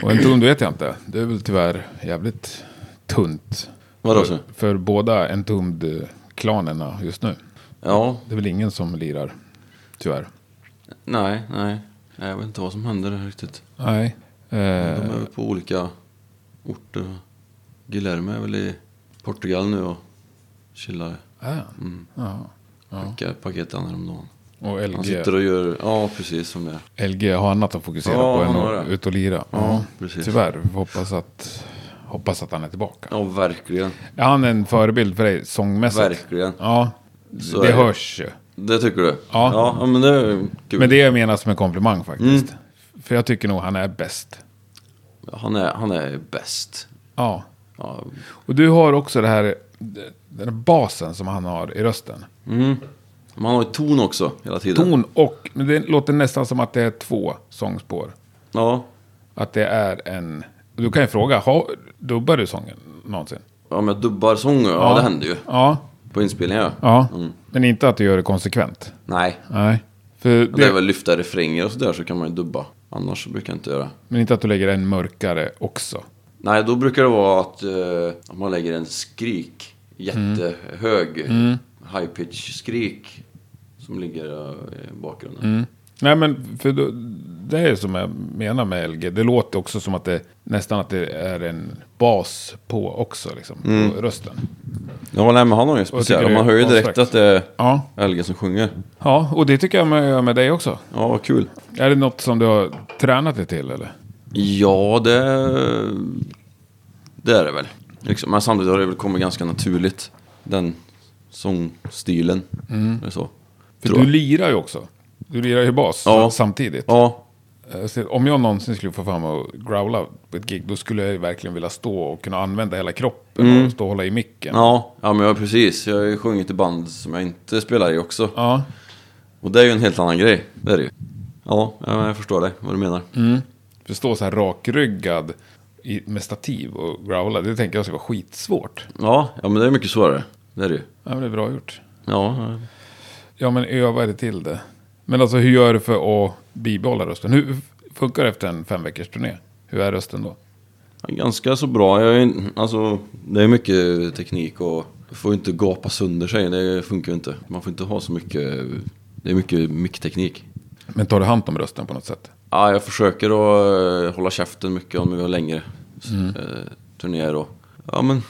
Och en ton vet jag inte. Det är väl tyvärr jävligt tunt.
Vadå så?
För båda en tumd klanerna just nu.
Ja,
Det är väl ingen som lirar. Tyvärr.
nej, nej. Nej, Jag vet inte vad som händer där riktigt.
Nej.
De
Eh,
är väl på olika orter. Guilherme är väl i Portugal nu och chillar.
ah,
Mm.
ja. Ja.
Skickar paket han häromdagen.
Och LG,
Han sitter och gör, ja precis som det. är.
LG har annat att fokusera
Ja,
på än
han har
att
det.
ut och lira.
Ja, precis.
Tyvärr. Vi får Hoppas att, hoppas att han är tillbaka.
Ja, verkligen.
Är han en förebild för dig sångmässigt?
Verkligen.
Ja,
Så
det
är det.
hörs ju.
Det tycker du?
Ja.
Ja, men det är kul. Mm.
Men det jag menar som en komplimang faktiskt. För jag tycker nog han är bäst.
Han, är, han är bäst.
Ja.
Ja,
Och du har också det här, den här basen som han har i rösten.
men han har ju ton också hela tiden.
Ton och, men det låter nästan som att det är två sångspår.
Ja.
Att det är en, du kan ju fråga, har, dubbar du sången någonsin?
Ja, men dubbar sång, ja, ja det händer ju.
Ja,
På inspelningar ja.
ja. men inte att du gör det konsekvent.
Nej.
Nej. För
Men det är
det,
väl lyfta refränger och sådär så kan man ju dubba. Annars så brukar jag inte göra.
men inte att du lägger en mörkare också.
Nej, då brukar det vara att eh, man lägger en skrik. Jättehög.
Mm.
High pitch skrik. Som ligger eh, i bakgrunden.
Mm. Nej, men för då, det är som jag menar med LG. Det låter också som att det nästan att det är en bas på också, liksom,
Mm.
på rösten.
Ja, nej, men han har ju
tycker
speciellt.
du
Man hör ju
om
direkt
Svax?
att det
Ja.
är LG som sjunger.
ja, och det tycker jag man gör med dig också.
Ja, vad kul.
Är det något som du har tränat dig till, eller?
Ja, det... Det är det väl. Liksom. Men samtidigt har det väl kommit ganska naturligt. Den sångstilen. Eller så.
Mm. För
Tror
du
jag.
lirar ju också. Du lirar ju bas
Ja.
samtidigt.
Ja,
Eh, så Om jag någonsin skulle få fram att growla på ett gig, då skulle jag ju verkligen vilja stå och kunna använda hela kroppen och stå och hålla i micken.
Mm. ja, ja, men ja, precis. Jag har ju sjungit i band som jag inte spelar i också.
Ja.
Och det är ju en helt annan grej. Det är det ju. Ja, ja, men jag förstår dig. Vad du menar.
För stå så här rakryggad i, med stativ och growla, det tänker jag ska vara skitsvårt.
Ja, ja, men det är mycket svårare. Det är det ju.
Ja, men det är bra gjort.
Ja, ja.
Ja, men öva dig till det. Men alltså, hur gör du för att bibehålla rösten? Hur funkar det efter en fem veckors turné? Hur är rösten då?
Ganska så bra. Jag är, alltså, det är mycket teknik och får ju inte gapa sönder sig. Det funkar ju inte. Man får inte ha så mycket... Det är mycket mickteknik.
Men tar du hand om rösten på något sätt?
Ja, jag försöker att eh, hålla käften mycket om vi har längre mm. turnéer. Och, ja, men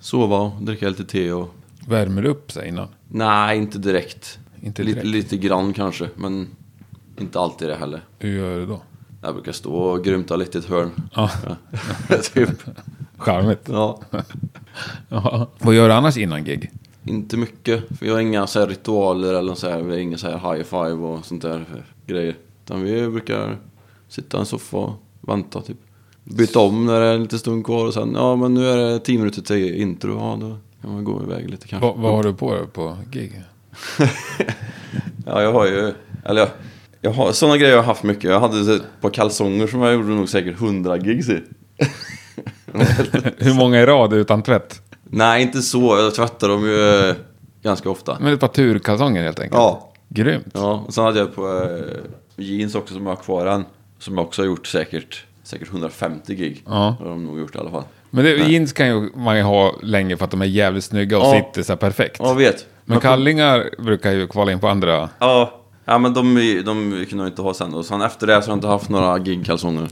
sova och dricka lite te och...
Värmer du upp sig innan?
Nej, inte direkt.
Inte
Lite-
direkt.
Lite, grann kanske, men inte alltid det heller.
Hur gör du då?
Jag brukar stå och grymta lite i ett hörn.
Ja,
Ja. [laughs] typ.
charmigt.
Ja.
Ja. Vad gör du annars innan gig?
Inte mycket, för jag har inga så här ritualer eller så här, vi har inga så här high five och sånt där för grejer. Utan vi brukar sitta i en soffa och vänta typ. Byta om när det är lite stund kvar och sen, ja men nu är det 10 minuter till intro, ja då kan man gå iväg lite kanske.
Va, vad har du på dig på gig?
[laughs] Ja jag har ju, eller jag, jag har, sådana grejer har jag haft mycket. Jag hade så- ett par kalsonger som jag gjorde nog säkert 100 gigs i.
[laughs] hur många i rad utan tvätt?
Nej inte så, jag tvättar dem ju eh, ganska ofta.
Men ett par turkalsonger helt enkelt.
Ja.
Grymt.
Ja, och sen hade jag på eh, jeans också som jag har kvar än. Som jag också har gjort säkert, säkert 150 gig.
Ja.
Har de nog gjort i alla fall.
Men det, jeans kan ju man ju ha länge för att de är jävligt snygga och
Ja.
sitter så här perfekt.
Ja, jag vet.
Men kallingar brukar ju kvala in
[laughs]
på andra.
Ja, ja men de, är- de kunde jag inte ha sen. Och sen efter det så har jag inte haft några gigkalsonger.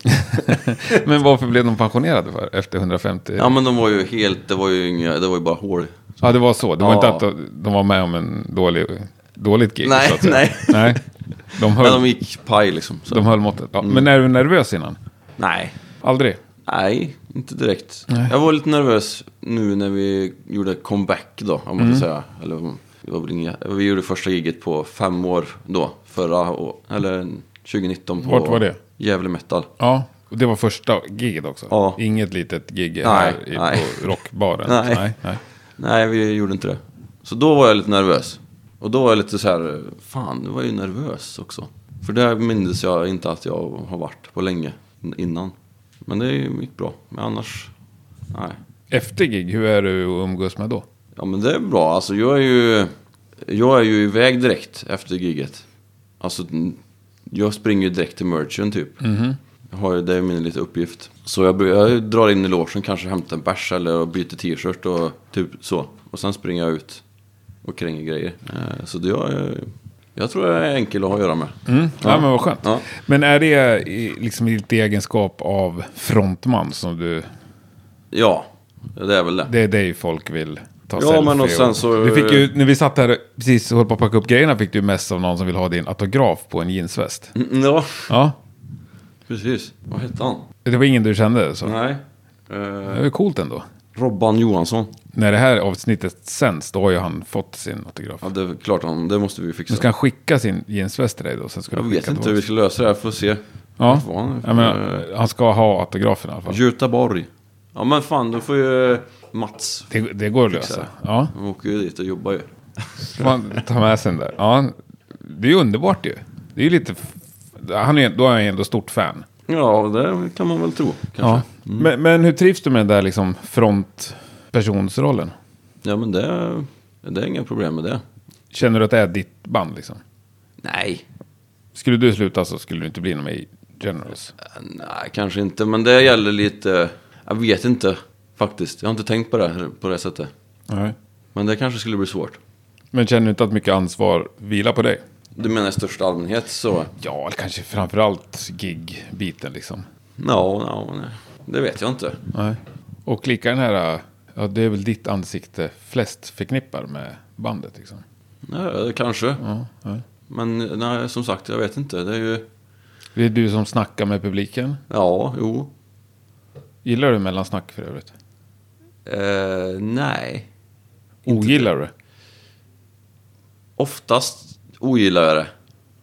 Men varför blev de pensionerade för efter 150?
Ja,
Ja,
men de var ju helt, det var ju inga, det var ju bara hål.
det var så. Det var
Ja.
inte att de- de var med om en dålig, dåligt gig.
Nej,
så att säga.
nej.
nej.
[laughs]
De
Men
höll,
de gick paj liksom. Så.
de höll måttet. Ja. Men är du nervös innan?
Nej.
Aldrig?
Nej, inte direkt. Jag var lite nervös nu när vi gjorde comeback då, om man
Mm.
ska säga. Eller, om- det var väl inga, vi gjorde första giget på fem år då, förra å- eller 2019 på
Vart var det?
Gävle Metal.
Ja. Och det var första giget också?
Ja.
Inget litet gig
Nej,
här i,
nej.
på rockbaren?
[laughs] Nej.
nej, nej.
Nej, vi gjorde inte det. Så då var jag lite nervös. Och då var jag lite så här, fan, nu var jag ju nervös också. För det mindes jag inte att jag har varit på länge innan. Men det gick bra. Men annars, nej.
Efter gig, hur är du att umgås med då?
Ja men det är bra. Alltså jag är ju... Jag är ju iväg direkt efter giget. Alltså jag springer ju direkt till merchen typ. Jag har ju, det är min lilla uppgift. Så jag, bör- jag drar in i logen, kanske hämtar en bärs eller byter t-shirt och typ så. Och sen springer jag ut och kränger grejer. Eh, Så det jag, är- jag tror jag är enkel att ha att göra med.
Ja, men vad skönt.
Ja.
Men är det i- liksom i ditt egenskap av frontman som du...
Ja, det är väl det.
Det är dig folk vill ta
Ja,
selfie
men och sen så-
Du fick ju, när vi satt här precis och höll på att packa upp grejerna fick du mest av någon som vill ha din autograf på en jeansväst.
Mm, Ja,
Ja,
precis. Vad hette han?
det var ingen du kände så.
Nej. Eh,
Det var ju coolt ändå.
Robban Johansson.
När det här avsnittet sänds, då har ju han fått sin autograf.
Ja, det är klart han. Det måste vi fixa.
Nu ska han skicka sin jeansväst till dig då? Sen ska
Jag
du skicka
vet inte
tillbaka.
hur vi ska lösa det här, får se.
Ja.
Vad var han?
Ja, men, eh, han ska ha autografen i alla fall.
Göteborg. Ja men fan, då får ju eh, Mats...
Det, det går att
Fixa
lösa.
det.
Ja.
Han åker ju dit och jobbar ju.
Man tar med sig den där. Ja, det är ju underbart ju. Det är ju lite... f- Han är, då är han ju ändå stort fan.
Ja, det kan man väl tro. Kanske. Mm. Ja.
Ja. Men, men hur trivs du med den där liksom frontpersonsrollen?
men det, det är inga problem med det.
Känner du att det är ditt band liksom?
Nej.
Skulle du sluta så skulle du inte bli någon med i Generals.
Nej, kanske inte. Men det gäller lite... Jag vet inte faktiskt. Jag har inte tänkt på det här, på det sättet.
Nej.
Men det kanske skulle bli svårt.
Men känner du inte att mycket ansvar vilar på dig?
Du menar i största allmänhet så...
Ja, eller kanske framförallt gig-biten liksom.
Ja, ja, nej. Det vet jag inte.
Nej. Och lika den här, ja det är väl ditt ansikte flest förknippar med bandet liksom.
Nej, kanske.
Ja, nej.
Men nej, som sagt, jag vet inte. Det är ju...
Det är du som snackar med publiken.
Ja, jo.
Gillar du mellansnack för övrigt?
Eh, nej.
Ogillar du det?
Oftast ogillar jag det.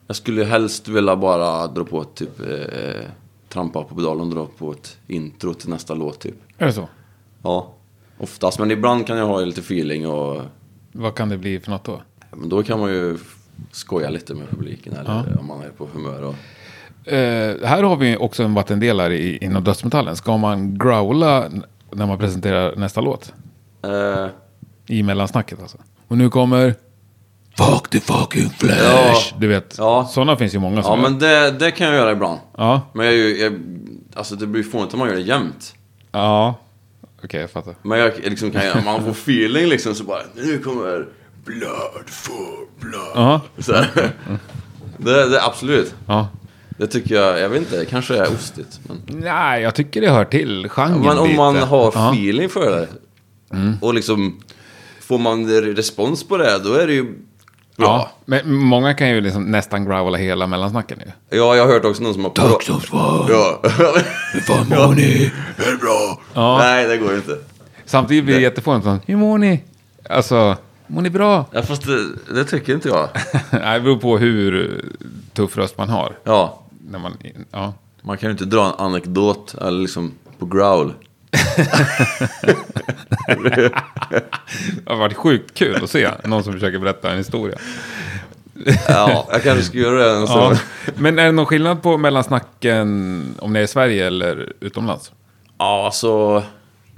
Jag skulle helst vilja bara dra på ett typ... Eh, trampa på pedalen och dra på ett intro till nästa låt typ.
Är det så?
Ja. Oftast, men ibland kan jag ha lite feeling och...
Vad kan det bli för något då?
Men då kan man ju f- skoja lite med publiken eller om man är på humör och...
Eh, här har vi också en vattendelare i, inom dödsmetallen. Ska man growla n- när man presenterar nästa låt?
Eh,
I mellansnacket alltså. Och nu kommer... Fuck the fucking flash!
Ja.
Du vet,
Ja.
sådana finns ju många som
ja,
gör.
men det, det kan jag göra ibland.
Ja,
Men jag är ju... Jag, alltså det blir fånigt om man gör det jämt.
ja. Okej, jag fattar.
Men jag liksom kan... Man får feeling liksom så bara... Nu kommer... Blood for blood.
Ja,
Så här. Det, det, absolut.
ja.
Det tycker jag, jag vet inte, det kanske är ostigt. Men,
Nej, jag tycker det hör till genren
men om
lite.
man har
Ja.
feeling för det.
Mm.
Och liksom, får man re- respons på det, då är det ju
Ja,
bra.
men många kan ju liksom nästan growla hela mellansnacken ju.
Ja, jag har hört också någon som har... Tack som svar! Ja. [laughs] fan mår ni? Det är bra!
Ja.
Nej, det går ju inte.
Samtidigt blir det jättefånigt. sån, Hur mår ni? Alltså, mår ni bra? [laughs]
Ja, fast det, det tycker inte jag.
Nej, det beror på hur tuff röst man har.
Ja,
När man, ja.
man kan ju inte dra en anekdot eller liksom på growl.
Det har varit sjukt kul att se någon som försöker berätta
[laughs]
en historia.
Ja, jag kanske ska göra det. en sån.
Ja. Men är det någon skillnad på mellansnacken om ni är i Sverige eller utomlands?
Ja, alltså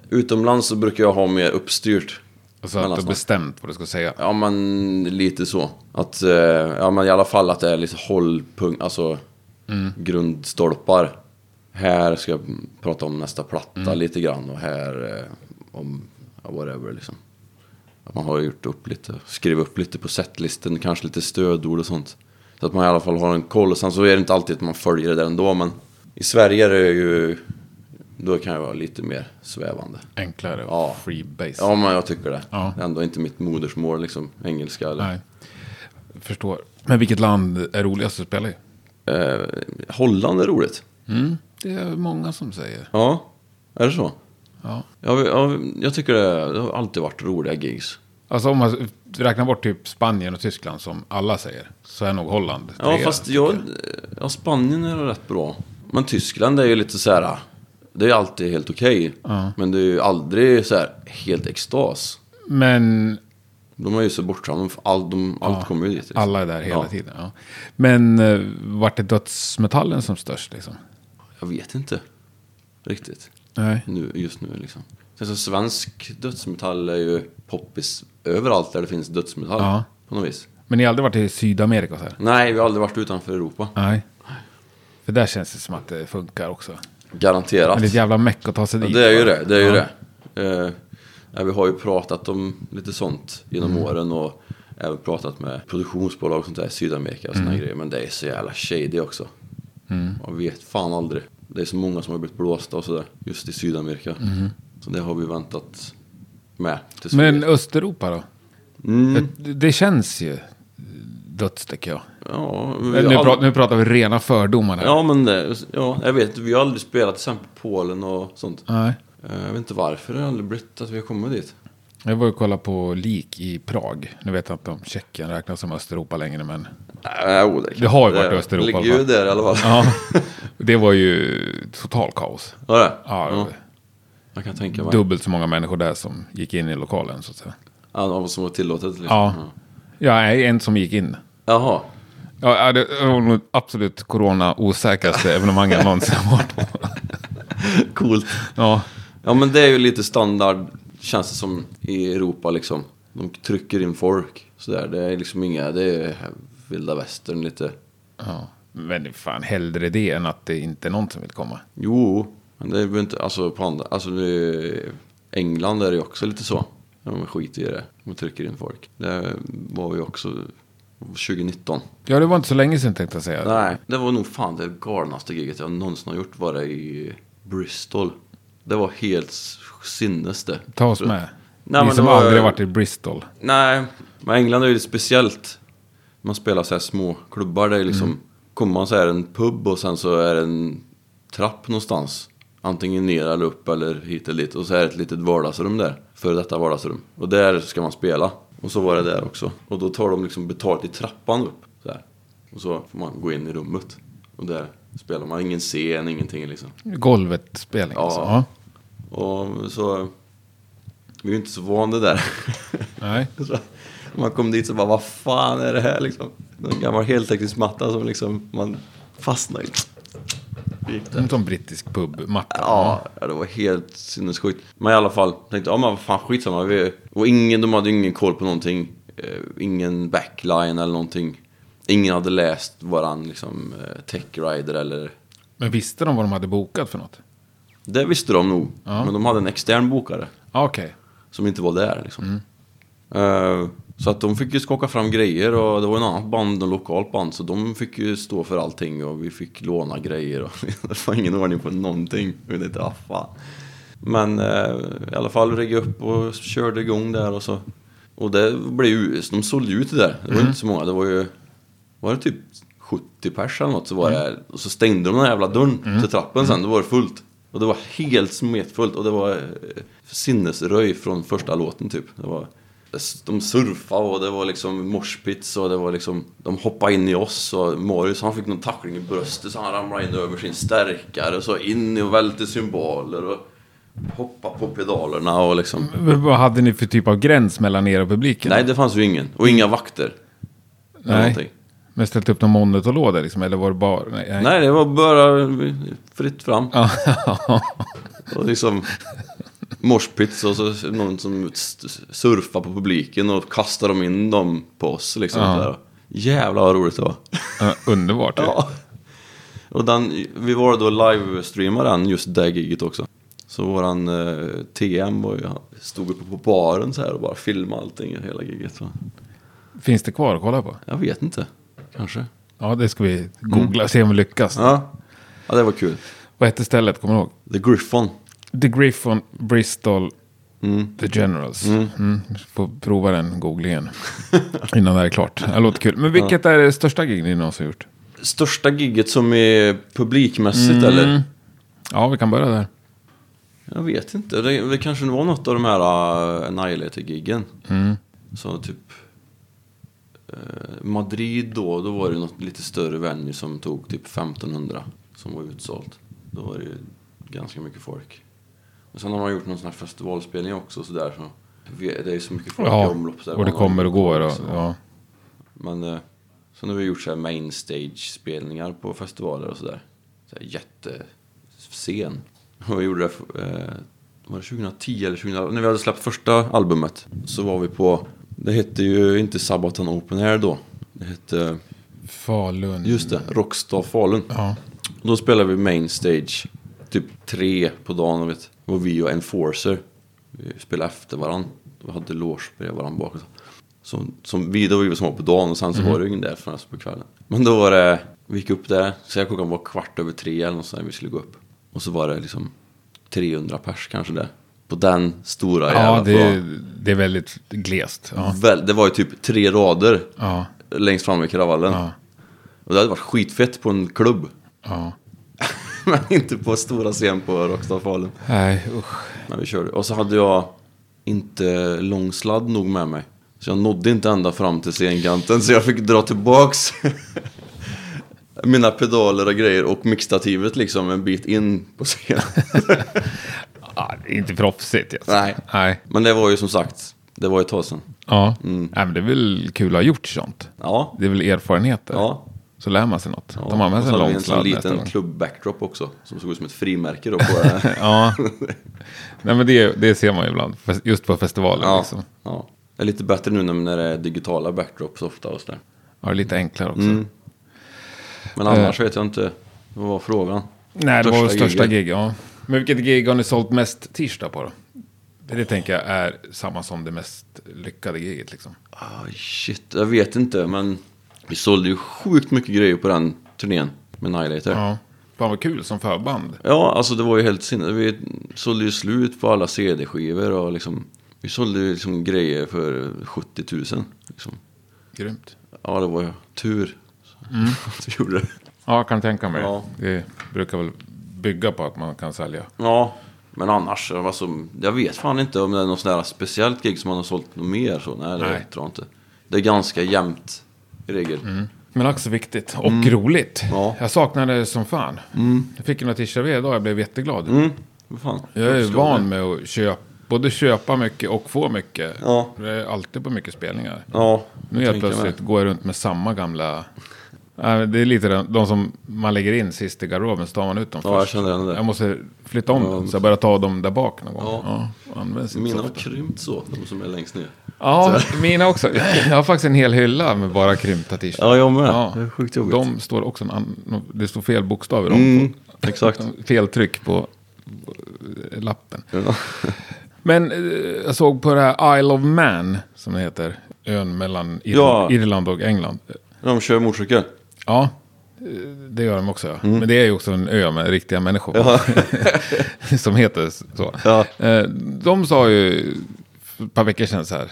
utomlands så brukar jag ha mer uppstyrt.
Alltså att du har
Mellansnack.
bestämt vad du ska säga.
Ja, men lite så. Att, eh, ja, men i alla fall att det är lite hållpunkt, alltså grundstolpar. Här ska jag prata om nästa platta lite grann och här eh, om ja, whatever liksom. Att man har gjort upp lite, skrivit upp lite på setlisten, kanske lite stödord och sånt. Så att man i alla fall har en koll. Sen så är det inte alltid att man följer det där ändå, men i Sverige är det ju... Då kan jag vara lite mer svävande.
Enklare och
Ja.
free base.
Ja, men jag tycker det.
Ja.
Det är ändå inte mitt modersmål, liksom. Engelska eller...
Nej, jag förstår. Men vilket land är roligast att spela i?
Eh, Holland är roligt.
Mm. Det är många som säger.
Ja, är det så?
Ja.
Jag, jag, jag tycker det, det har alltid varit roliga gigs.
Alltså om man räknar bort typ Spanien och Tyskland som alla säger. Så är nog Holland
Ja,
trea,
fast
tycker
jag... Ja, Spanien är rätt bra. Men Tyskland är ju lite så här... Det är alltid helt okej. Men det är ju aldrig så här helt extas.
Men
De är ju så bortskämda. All, de, allt kommer ju dit. liksom.
Alla är där hela
Ja.
tiden. Ja. Men eh, vart är dödsmetallen som störst liksom?
Jag vet inte riktigt.
Nej.
Nu, just nu liksom. Sen så svensk dödsmetall är ju poppis överallt där det finns dödsmetall.
Ja.
På något vis.
Men ni har aldrig varit i Sydamerika och så här?
Nej, vi har aldrig varit utanför Europa.
Nej. För där känns det som att det funkar också.
Garanterat.
Men det är ett jävla meck att ta sig
Ja,
dit.
det är ju det. Det är ju
Ja.
det. Eh, ja, vi har ju pratat om lite sånt genom
Mm.
åren och även pratat med produktionsbolag och sånt där i Sydamerika och såna
Mm.
grejer. Men det är så jävla shady också. Man vet fan aldrig. Det är så många som har blivit blåsta och sådär just i Sydamerika. Så det har vi väntat med. tills vi
Mm. Men
vet.
Östeuropa då?
mm,
Det- Det känns ju döds tycker jag.
ja,
Nu,
vi har
pra-
aldrig,
nu pratar vi rena fördomar här.
ja, men det, ja, jag vet. Vi har aldrig spelat till exempel Polen och sånt.
Nej.
Eh, Jag vet inte varför det har aldrig blivit att vi har kommit dit.
Jag var och kollade på lik i Prag. Nu vet jag inte om Tjeckien räknas som Östeuropa längre, men...
Nej, jo, det,
Det har ju varit
det-
Östeuropa
Det
i alla
ligger ju
fall.
där i alla fall.
Ja, det var ju total kaos.
Var det?
Ja,
Jag kan tänka mig.
Dubbelt så många människor där som gick in i lokalen, så att säga.
Ja, Av vad som var tillåtet liksom.
Ja, ja nej, en som gick in.
Jaha.
Ja, ja, det var nog absolut corona-osäkraste [laughs] evenemang jag någonsin har varit på.
Coolt.
Ja,
Ja men det är ju lite standard känns det som i Europa liksom. De trycker in folk sådär. Det är liksom inga, det är vilda västern lite.
ja. Men fan, hellre det än att det inte är någon som vill komma.
Jo, men det är ju inte, alltså på andra, alltså det är, England är det ju också lite så. De skiter i det. De trycker in folk. Det var ju också 2019.
Ja, det var inte så länge sedan tänkte jag säga.
Nej, det var nog fan det galnaste giget jag någonsin har gjort var det i Bristol. Det var helt sinnes det.
Ta oss med.
Nej,
Ni
men
som
det var-
aldrig varit i Bristol.
Nej, men England är ju lite speciellt. Man spelar så här små klubbar. Det är liksom, kommer man så är det en pub och sen så är det en trapp någonstans. Antingen ner eller upp eller hit eller dit. Och så är det ett litet vardagsrum där. Före detta vardagsrum. Och där ska man spela. Och så var det där också. Och då tar de liksom betalt i trappan upp. Så här. Och så får man gå in i rummet. Och där spelar man. Ingen scen, ingenting liksom.
Golvet-spelning
Ja.
alltså. Ja.
Och så... Vi är ju inte så vana vid det där. [laughs]
Nej.
Så, man kom dit så bara, vad fan är det här liksom? En gammal heltäckningsmatta som liksom, man fastnar i. Gick det.
En sån brittisk pub-matta.
Ja, ja, det var helt sinnessjukt. Men i alla fall, tänkte, ja men vad fan skitsamma. Vi, och ingen, de hade ju ingen koll på någonting. Eh, ingen backline eller någonting. Ingen hade läst varann liksom, eh, techrider eller...
Men visste de vad de hade bokat för något?
Det visste de nog.
Ja.
Men de hade en extern bokare.
Ja, Okej.
som inte var där. Liksom. Eh, så att de fick ju skaka fram grejer och det var en annan band, en lokalt band, så de fick ju stå för allting och vi fick låna grejer och [laughs] det var ingen ordning på någonting. Jag vet inte, ah, fan. Men eh, i alla fall reggade upp och körde igång där och så. Och det blev ju, de sålde ju ut det där. Det var inte så många, det var ju, var det typ 70 pers eller något så var det, och så stängde de den här jävla dörren till trappen sen, då var det fullt. Och det var helt smetfullt och det var eh, sinnesröj från första låten typ. Det var, de surfade och det var liksom moshpits och det var liksom De hoppade in i oss och Marius han fick någon tackling i bröstet så han ramlade in över sin stärkare och så in och välte symboler och Hoppa på pedalerna och liksom
Men Vad hade ni för typ av gräns mellan er och publiken?
Nej det fanns ju ingen och inga vakter Eller
Nej.
någonting.
Men ställt upp någon monitorlåda liksom? Eller var det bara... Nej. nej.
Nej det var bara fritt fram
Ja.
[laughs] Och liksom morspits och så någon som s- surfar på publiken och kastar dem in dem på oss. Liksom,
Ja.
sådär. Jävlar vad roligt det var.
Ja, Underbart. Ja.
Ja. Och den, vi var då livestreamade den, just det giget också. Så våran eh, TM var ju, han stod uppe på baren så här och bara filmade allting, hela giget. Så.
Finns det kvar att kolla på?
Jag vet inte, kanske.
Ja, det ska vi googla och se om vi lyckas.
Ja. ja, det var kul.
Vad hette stället? Kommer du ihåg?
The Griffon.
The Griffon, Bristol, The Generals. Mm. Får prova den googlingen [laughs] innan det här är klart. Det låter kul. Men vilket är det största gig ni någonsin gjort?
Största giget som är publikmässigt
Mm.
eller?
Ja, vi kan börja där.
Jag vet inte. Det, det kanske var något av de här uh, Annihilator-giggen.
Mm.
Så typ eh, Madrid då, då var det något lite större venue som tog typ 1500 som var utsålt. Då var det ju ganska mycket folk. Och sen har man gjort någon sån här festivalspelning också sådär. Så Vi- Det är ju så mycket folk i
Ja,
omlopp där.
och det
Man-
kommer och går. Och,
så.
ja.
Men eh, sen har vi gjort så här main stage spelningar på festivaler och sådär. Så här jättescen. Och vi gjorde det, eh, var det 2010 eller 2011? När vi hade släppt första albumet så var vi på, det hette ju inte Sabaton Open Air då. Det hette,
Falun.
just det, Rockstar Falun.
Ja.
Då spelade vi main stage, typ tre på dagen. Vet. du. Det var vi och Enforcer. Vi spelade efter varandra. Vi hade loge bredvid varandra bak. och så. Som, som vi, då var vi som var på dagen och sen
Mhm.
så var det ingen där förrän på kvällen. Men då var det, vi gick upp där, så jag klockan var kvart över tre eller något sånt där vi skulle gå upp. Och så var det liksom 300 pers kanske där. På den stora
Ja,
jävla
det,
det...
är- det är väldigt glest. Ja.
Väl, det var ju typ tre rader
Ja.
längst fram i kravallen.
Ja.
Och det hade varit skitfett på en klubb. [laughs]
ja.
Men inte på stora scen på Rockstad Falun.
Nej, usch.
Men vi körde. Och så hade jag inte lång sladd nog med mig. Så jag nådde inte ända fram till scenkanten så jag fick dra tillbaks [laughs] mina pedaler och grejer och mixtativet liksom en bit in på
[laughs]
scenen.
Ja, det är inte proffsigt. Alltså.
Nej.
Nej.
Men det var ju som sagt, det var ju ett tag sedan.
Ja.
Mm.
Nej, men det är väl kul att ha gjort sånt.
Ja.
Det är väl erfarenheter.
Ja.
Så lär man sig något.
ja.
Tar man med sig
Och så
en
hade vi
lång
sån
sladd nästa
liten
gång.
klubb-backdrop också som såg ut som ett frimärke då
[laughs]
på...
Ja. Nej, men det, det ser man ju ibland. fest- Just på festivaler.
ja.
Liksom.
ja. Det är lite bättre nu när det är digitala backdrops ofta och sådär.
Ja, det är lite enklare också.
Mm. Men annars vet jag inte, vad var frågan?
Eh. Nej, det var väl största
giget.
gig. Ja. Men vilket gig har ni sålt mest t-shirtar på då? Det tänker jag är samma som det mest lyckade giget liksom.
Ah, shit, jag vet inte men vi sålde ju sjukt mycket grejer på den turnén med Nihilator. Ja.
Ja. Fan vad kul som förband.
alltså det var ju helt sinne. Vi sålde ju slut på alla CD-skivor och liksom vi sålde ju liksom grejer för 70 000. Liksom.
Grymt.
Ja, det var ju tur
Mm.
att vi gjorde [laughs] det.
Ja, jag kan tänka mig
Ja.
det. Det brukar väl bygga på att man kan sälja.
Ja, men annars, alltså, jag vet fan inte om det är något sånt där speciellt gig som man har sålt något mer. Så. Nej, det
Nej. Mm.
tror jag inte. Det är ganska jämnt i regel.
Men också viktigt och roligt.
Mm. Ja.
Jag saknade det som fan. Jag fick ju några t-shirtar varje dag jag blev jätteglad.
Mm, vad fan.
Jag är
förstår det.
van med att köpa, både köpa mycket och få mycket.
Ja.
Jag är alltid på mycket spelningar.
Ja,
Nu helt
tänker jag
plötsligt går jag runt med samma gamla... Nej, men Det är lite de, de som man lägger in sist i garderoben, så tar man ut dem
Ja, jag
först.
känner igen det.
Jag måste flytta om dem, så jag börjar ta dem där bak någon gång.
Ja.
Ja. används inte
Mina
så
har
ofta.
krympt så, de som är längst ner.
Ja, mina också. Jag har faktiskt en hel hylla med bara krympta t-shirts.
Ja, jag med.
Ja.
Det är sjukt jobbigt.
De står också en annan... Det står fel bokstav i dem.
Mm, exakt.
Fel tryck på på, eh, lappen. Men eh, jag såg på det här Isle of Man, som det heter. Ön mellan Ir-
Ja.
Irland och England.
De kör motorcykel.
Ja, eh, det gör de också. Ja.
Mm.
Men det är ju också en ö med riktiga människor. [laughs] som heter så.
Ja.
Eh, De sa ju för ett par veckor sedan så här.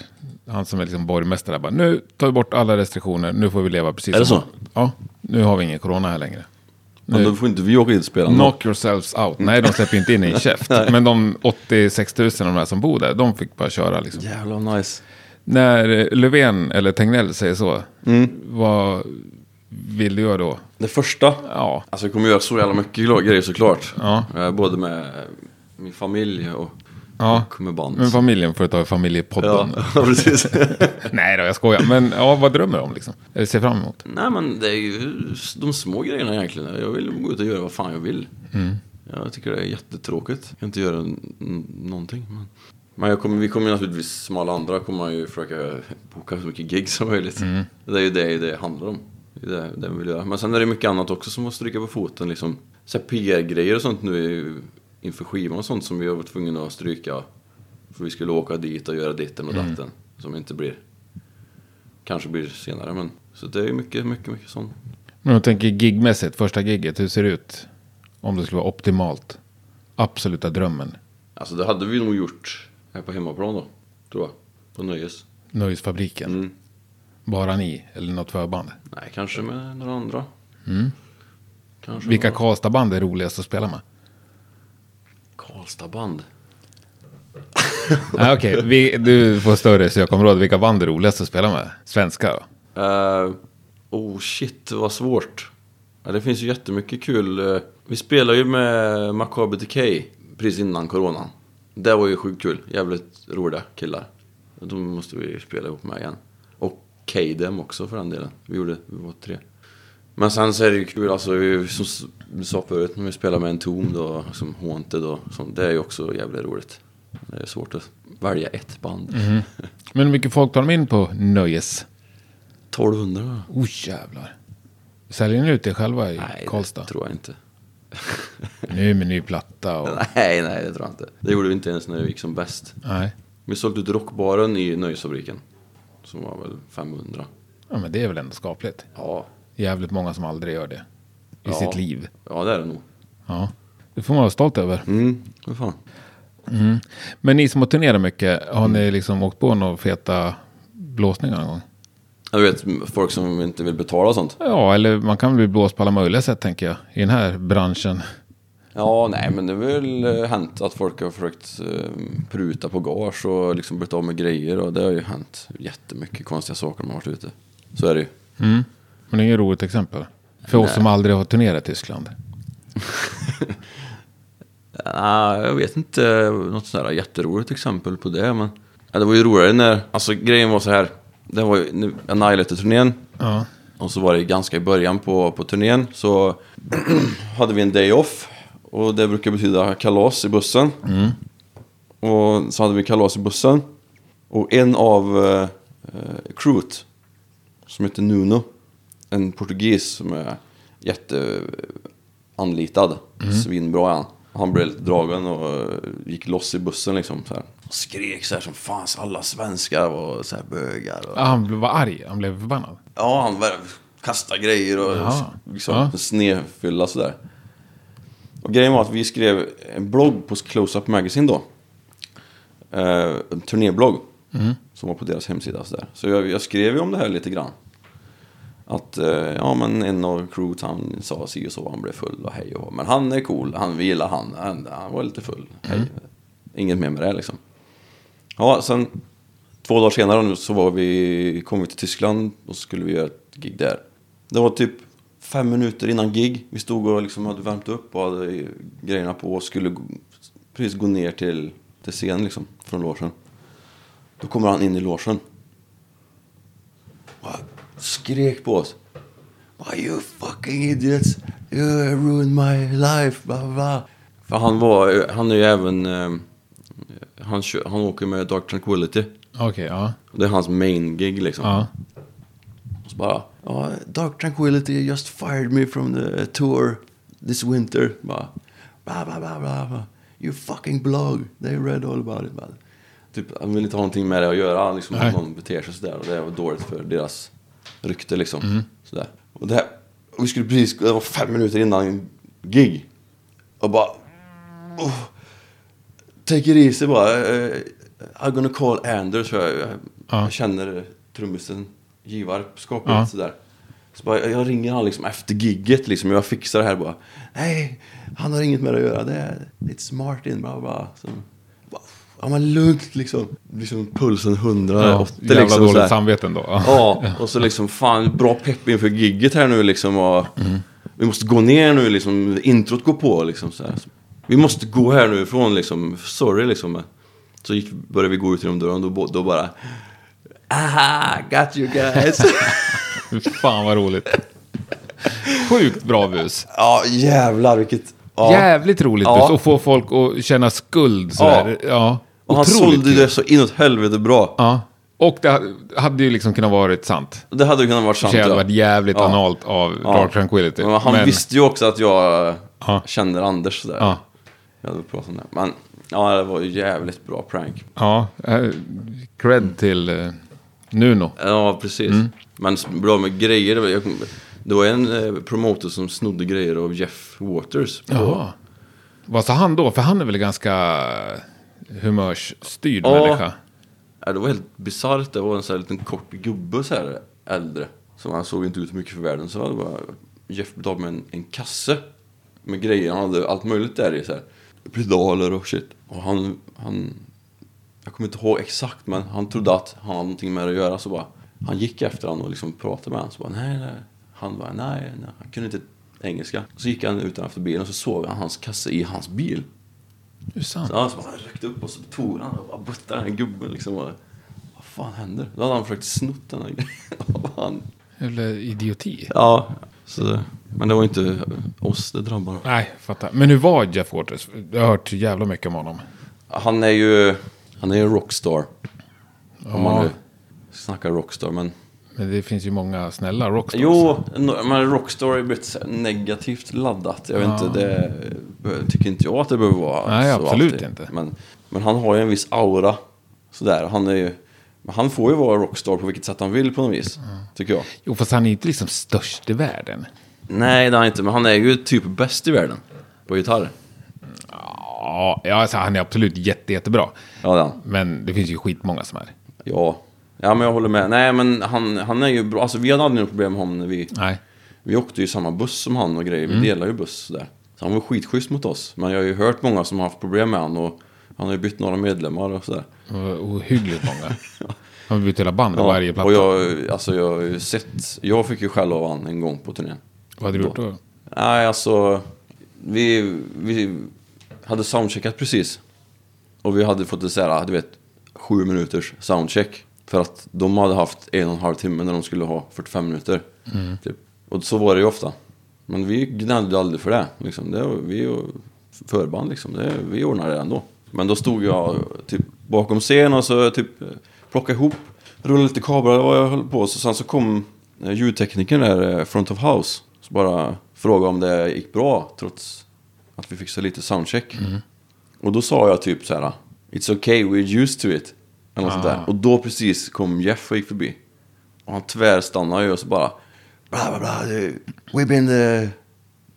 Han som är liksom borgmästare där bara, nu tar vi bort alla restriktioner, nu får vi leva precis
Är det
som
så?
Ja, nu har vi ingen corona här längre.
Men då får inte vi åka dit och spela. ändå.
Knock yourselves out. Nej, de släpper inte in i en käft. Men de 86 000 av de här som bor där, de fick bara köra liksom.
Jävlar nice.
När eh, Löfven eller Tegnell säger så, vad vill du göra då?
Det första.
Ja,
Alltså jag kommer göra så jävla mycket gla- grejer såklart.
Ja.
Eh, Både med min familj och,
Ja.
och med band.
Men familjen får du ta i familjepodden.
[laughs] ja, precis.
[laughs] Nej då, jag skojar. Men ja, vad drömmer du om liksom? Eller ser fram emot?
Nej men det är ju de små grejerna egentligen. Jag vill gå ut och göra vad fan jag vill. Jag tycker det är jättetråkigt. Jag kan inte göra n- n- någonting. Men, men jag kommer, vi kommer ju naturligtvis, som alla andra, kommer man ju försöka boka så mycket gig som möjligt. Det är ju det det handlar om. Det är det, det man vill göra. Men sen är det mycket annat också som måste stryka på foten. Liksom. Så här PR-grejer och sånt nu är ju inför skivan och sånt som vi har varit tvungna att stryka. För vi skulle åka dit och göra ditten och datten. Som inte blir... Kanske blir senare men... Så det är ju mycket, mycket, mycket sånt.
Men jag tänker gigmässigt, första giget, hur ser det ut? Om det skulle vara optimalt. Absoluta drömmen.
Alltså det hade vi nog gjort här på hemmaplan då, tror jag. På Nöjes.
Nöjesfabriken.
Mm.
Bara ni, eller något förband.
Nej, kanske med några andra. Kanske
Vilka
några...
Karlstadband är roligast att spela med?
Karlstadband.
Nej, Okej, vi- du får större sökområde. Vilka band är roligast att spela med? Svenska då?
Eh, oh shit, vad svårt. Ja, det finns ju jättemycket kul. eh, Vi spelar ju med Macabre Decay precis innan coronan. Det var ju sjukt kul. Jävligt roliga killar. De måste vi spela ihop med igen. Och Kadem också för den delen. Vi gjorde, vi var tre. Men sen så är det ju kul, alltså vi, som du sa förut, när vi spelar med en tom då, som Haunted och sånt. Det är ju också jävligt roligt. Det är svårt att välja ett band.
Men hur mycket folk tar de in på Nöjes?
1200 va?
Oh jävlar. Säljer ni ut det själva i
Nej,
Karlstad?
det tror jag inte.
Nu med ny platta och...
[laughs] Nej, nej, det tror jag inte. Det gjorde vi inte ens när det gick som bäst.
Nej.
Vi sålde ut rockbaren i nöjesfabriken. Som var väl 500.
Ja, men det är väl ändå skapligt.
Ja,
Jävligt många som aldrig gör det. I
Ja.
sitt liv.
ja det är det nog.
Ja. Det får man vara stolt över.
Mm, vad fan.
Men ni som har turnerat mycket, har ni liksom åkt på några feta blåsningar någon gång?
Ja, Du vet, folk som inte vill betala och sånt.
Ja, eller man kan bli blåst på alla möjliga sätt tänker jag. I den här branschen.
Ja, nej, men det har väl eh, hänt att folk har försökt eh, pruta på gage och liksom blivit av med grejer. Och det har ju hänt jättemycket konstiga saker när man har varit ute. Så är det ju.
Mm. Men det är ju ett roligt exempel. För oss som aldrig har turnerat i Tyskland.
Ja, jag vet inte något sådär jätteroligt exempel på det, men... Ja, det var ju roligare när... Alltså grejen var så här. Det var ju nu- Annihilator-turnén.
Ja.
Och så var det ganska i början på, på turnén. Så [clears throat] hade vi en day off. Och det brukar betyda kalas i bussen. Och så hade vi kalas i bussen. Och en av eh, eh, crewet, som heter Nuno, en portugis som är jätteanlitad, svinbra är han. Han blev lite dragen och eh, gick loss i bussen liksom. Så här. Skrek så här som fan, så alla svenskar var så här bögar. Och...
Ah, han blev- var arg, han blev förbannad.
Ja, han var- kastade grejer och
Jaha.
liksom,
Ja.
snedfylla sådär. Och grejen var att vi skrev en blogg på Close-Up Magazine då. Eh, en turnéblogg.
Mm.
Som var på deras hemsida. Så, så jag, jag skrev ju om det här lite grann. Att eh, ja, men en av crewet han sa si och så, han blev full och hej och hå. Men han är cool, han, vi gillar han, han, han var lite full.
Mm.
Hej. Inget mer med det liksom. Ja, sen två dagar senare nu så var vi, kom vi till Tyskland och så skulle vi göra ett gig där. Det var typ fem minuter innan gig. Vi stod och liksom hade värmt upp och hade grejerna på och skulle gå- precis gå ner till, till scenen liksom, från logen. Då kommer han in i logen. Och skrek på oss. Why you fucking idiots? You ruined my life, bla bla, bla. För han var, han är ju även, eh, han, kö- han åker med Dark Tranquility.
Okej, ja.
Det är hans main gig liksom.
ja.
Och så bara, ja, Dark Tranquility just fired me from the uh, tour this winter. Bara, bla, bla, bla, bla, bla. You fucking blog, they read all about it. Bara, typ, han vill inte ha någonting med det att göra, liksom,
Nej.
att någon beter sig sådär. Och det var dåligt för deras rykte liksom.
Mm.
Sådär. Och det, här, och vi skulle precis, det var fem minuter innan gig. Och bara, oh, take it easy bara. eh, I'm gonna call Anders, för jag, jag,
Ja.
jag känner trummisen Givarp, skapet
Ja.
sådär. Så bara, jag ringer han liksom efter gigget liksom, jag fixar det här bara. Nej, han har inget med det att göra, det är it's Martin, bla bla. Så, bara, ja men lugnt liksom. Liksom pulsen 180
ja. Jävla
liksom.
dåligt
sådär.
samvete ändå.
Ja, och så liksom fan bra pepp inför gigget här nu liksom. Och
Mm.
Vi måste gå ner nu liksom, introt går på liksom. Så här. Vi måste gå här nu ifrån liksom, sorry liksom. Så gick, började vi gå ut genom dörren, då, bo- då bara... Aha, got you guys!
[laughs] Fy Fan vad roligt. Sjukt bra bus.
[laughs] ja, jävlar vilket... Ja.
Jävligt roligt
Ja.
bus. Och få folk att känna skuld sådär. Ja. ja.
och han
Otroligt
sålde
kul.
det så inåt helvete bra.
Ja. Och det hade ju liksom kunnat varit sant.
Det hade ju kunnat varit sant.
Det hade
ja.
varit jävligt analt av
Ja.
Dark Tranquility.
Men han visste ju också att jag
Ja.
känner Anders sådär.
Ja.
Jag hade pratat om det. Men ja, det var ju jävligt bra prank.
Ja, eh, cred till eh, Nuno.
Ja, precis. Men s- bra med grejer. det var- Jag, kom- det var en eh, promotor som snodde grejer av Jeff Waters. på-
Jaha. Vad sa han då? För han är väl ganska humörsstyrd
Ja.
människa?
Ja, det var helt bisarrt. Det var en sån här liten kort gubbe så här äldre. Som han såg inte ut mycket för världen. Så det var Jeff betalade med en, en kasse. Med grejer. Han hade allt möjligt där i. Så här. Pedaler och shit. Och han, han... Jag kommer inte ihåg exakt men han trodde att han hade någonting med det att göra. Så bara... Han gick efter honom och liksom pratade med honom. Så bara nej, nej. Han bara nej, nej. Han kunde inte engelska. Så gick han utanför bilen och så såg han hans kasse i hans bil.
Det är sant.
Ja, så bara han ryckte upp och så tog han och bara buttade den här gubben liksom. Och fan händer? Då hade han försökt snott den här grejen [laughs] av han.
Eller idioti.
Ja, så det. Men det var inte oss det drabbade.
Nej, fattar. Men hur var Jeff Waters? Jag har hört så jävla mycket om honom.
Han är ju, han är ju en rockstar. Om man
Ja,
nu snackar rockstar, men...
men det finns ju många snälla rockstars.
Jo, no- men rockstar har ju blivit så här negativt laddat. Jag vet inte, det tycker inte jag att det behöver vara.
Nej,
så
absolut inte.
Men, men han har ju en viss aura. Sådär, han är ju... men Han får ju vara rockstar på vilket sätt han vill på något vis,
Mm.
tycker jag.
Jo, fast han är inte liksom störst i världen.
Nej, det är han inte, men han är ju typ bäst i världen på gitarr.
Ja, ja, alltså, han är absolut jätte, jättebra.
Ja, det är han.
Men det finns ju skitmånga som är.
Ja. ja, men jag håller med. Nej, men han, han är ju bra. Alltså, vi hade aldrig något problem med honom när vi...
Nej.
Vi åkte ju i samma buss som han och grejer. Vi
Mm.
delar ju buss där. Så han var skitschysst mot oss. Men jag har ju hört många som har haft problem med han och han har ju bytt några medlemmar och sådär.
Det var Ohyggligt
[laughs]
många. Han har bytt hela band på
Ja,
varje platta.
och jag, alltså jag har ju sett, jag fick ju skäll av han en gång på turnén.
Vad hade du gjort då?
Nej, alltså. Vi, vi hade soundcheckat precis. Och vi hade fått det så här, du vet, sju minuters soundcheck. För att de hade haft en och en halv timme när de skulle ha 45 minuter. Typ. Och så var det ju ofta. Men vi gnällde aldrig för det. Liksom. det var- vi och förband liksom, det, vi ordnade det ändå. Men då stod jag typ bakom scen och så typ plockade ihop, rullade lite kablar och jag höll på. Så sen så kom eh, ljudteknikern där, eh, front of house. Så bara frågade om det gick bra trots att vi fick så lite soundcheck. Och då sa jag typ så här, It's okay, we're used to it. Eller något sånt
Ah.
där. Och då precis kom Jeff och gick förbi. Och han tvärstannade ju och så bara... Bla, bla, bla, du, we've been the...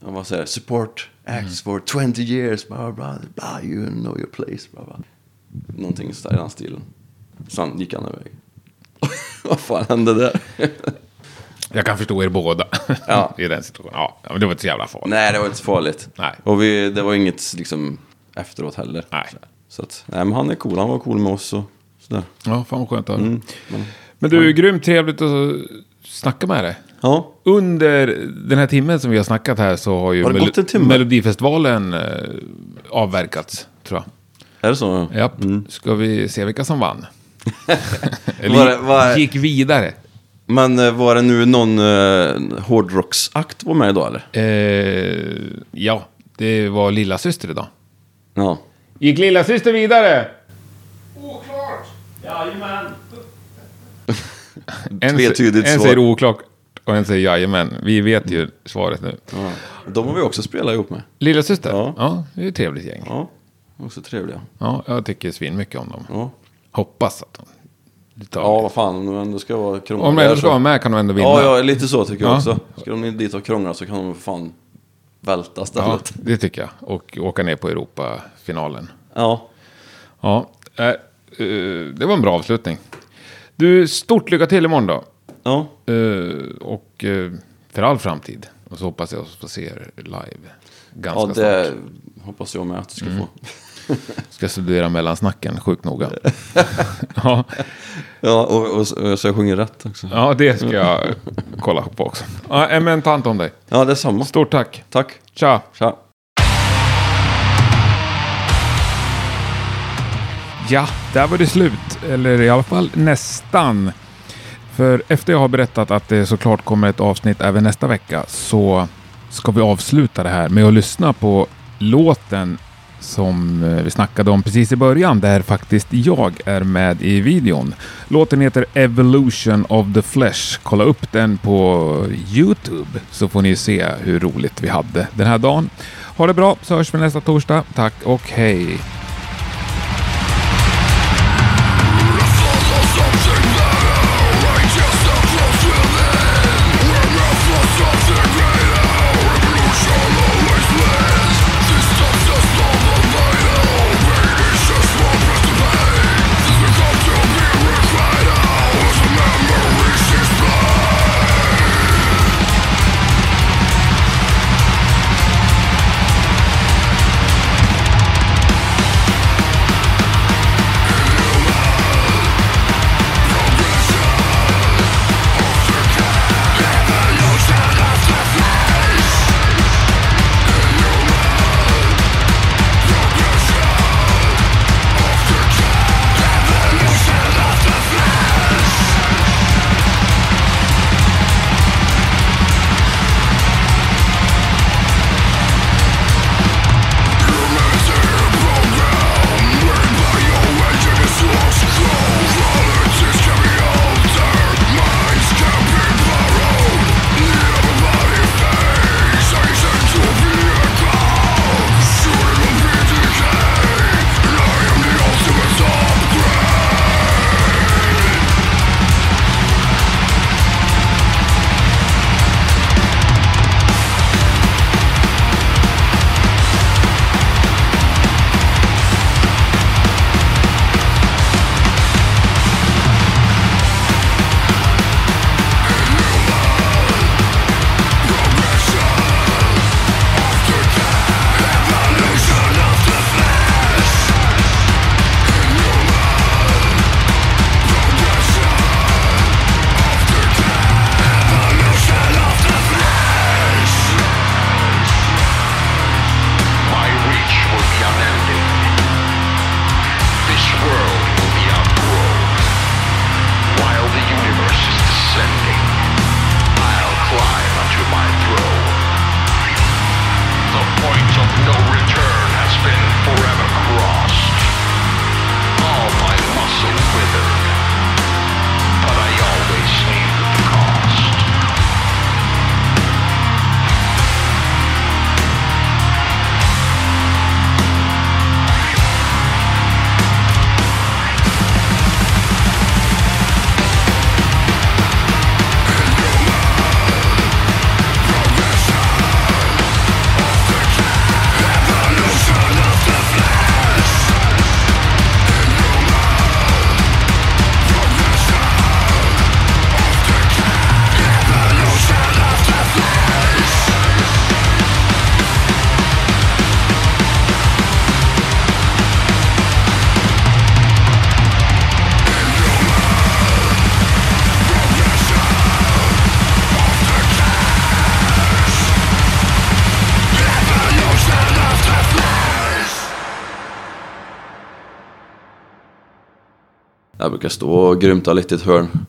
ja, Vad säger jag, Support acts
Mm.
for 20 years. Bla, bla, bla, bla, you know your place. Bla, bla. Någonting så där i den stilen. Sen gick han iväg. [laughs] vad fan hände
[laughs]
där?
Jag kan förstå er båda.
Ja.
[laughs] I den situationen. Ja, men det var inte så jävla farligt.
nej, det var inte så farligt.
Nej.
Och vi, det var inget liksom efteråt heller.
Nej.
Så att, nej men han är cool. Han var cool med oss och sådär.
Ja, fan vad skönt att höra.
Mm.
Men du, grymt trevligt att snacka med dig.
Ja,
Under den här timmen som vi har snackat här så har ju
Har det
Melo-
gått en timme?
Melodifestivalen eh, avverkats, tror jag.
är det så?
Ja,
Mm.
ska vi se vilka som
[laughs]
vann?
Var det- var-
gick vidare.
Men eh, var det nu någon eh, hårdrocksakt var med idag eller?
Eh, ja, det var lilla syster idag.
Ja.
Gick lilla syster vidare?
[laughs]
En,
Tvetydigt
en
svar. Mm.
säger oklart och en säger jajamän. Vi vet ju svaret nu.
ja. De har vi också spelat ihop med.
Lilla syster? Ja.
Ja.
det är ett trevligt gäng.
Ja, också trevliga.
Ja, jag tycker svin mycket om dem.
Ja,
Hoppas att de... det tar-
ja vad fan, om de ändå ska vara krångliga.
Om de ändå
så-
ska vara med kan de ändå vinna.
Ja, ja, lite så tycker jag
Ja.
också. Ska de dit och krångla så kan de fan välta
Ja,
stället.
det tycker jag. Och åka ner på Europafinalen.
Ja.
Ja, eh, eh, det var en bra avslutning. Du, stort lycka till imorgon då.
ja.
Eh, och eh, för all framtid. Och så hoppas jag att få se er live ganska Mm.
Ja, det
snart.
hoppas jag med att du ska få.
Ska studera mellansnacken
[laughs]
sjukt noga. ja,
Ja, och, och, och så jag sjunger rätt också.
ja, det ska jag kolla på också. Ja, eh, men ta hand om dig.
Ja, det är samma.
Stort tack.
Tack.
Tja!
Tja.
Ja, där var det slut. Eller i alla fall nästan. För efter jag har berättat att det såklart kommer ett avsnitt även nästa vecka så ska vi avsluta det här med att lyssna på låten som eh, vi snackade om precis i början där faktiskt jag är med i videon. Låten heter Evolution of the Flesh. Kolla upp den på Youtube så får ni se hur roligt vi hade den här dagen. Ha det bra så hörs vi nästa torsdag. Tack och hej!
Jag brukar stå och grymta lite i ett hörn.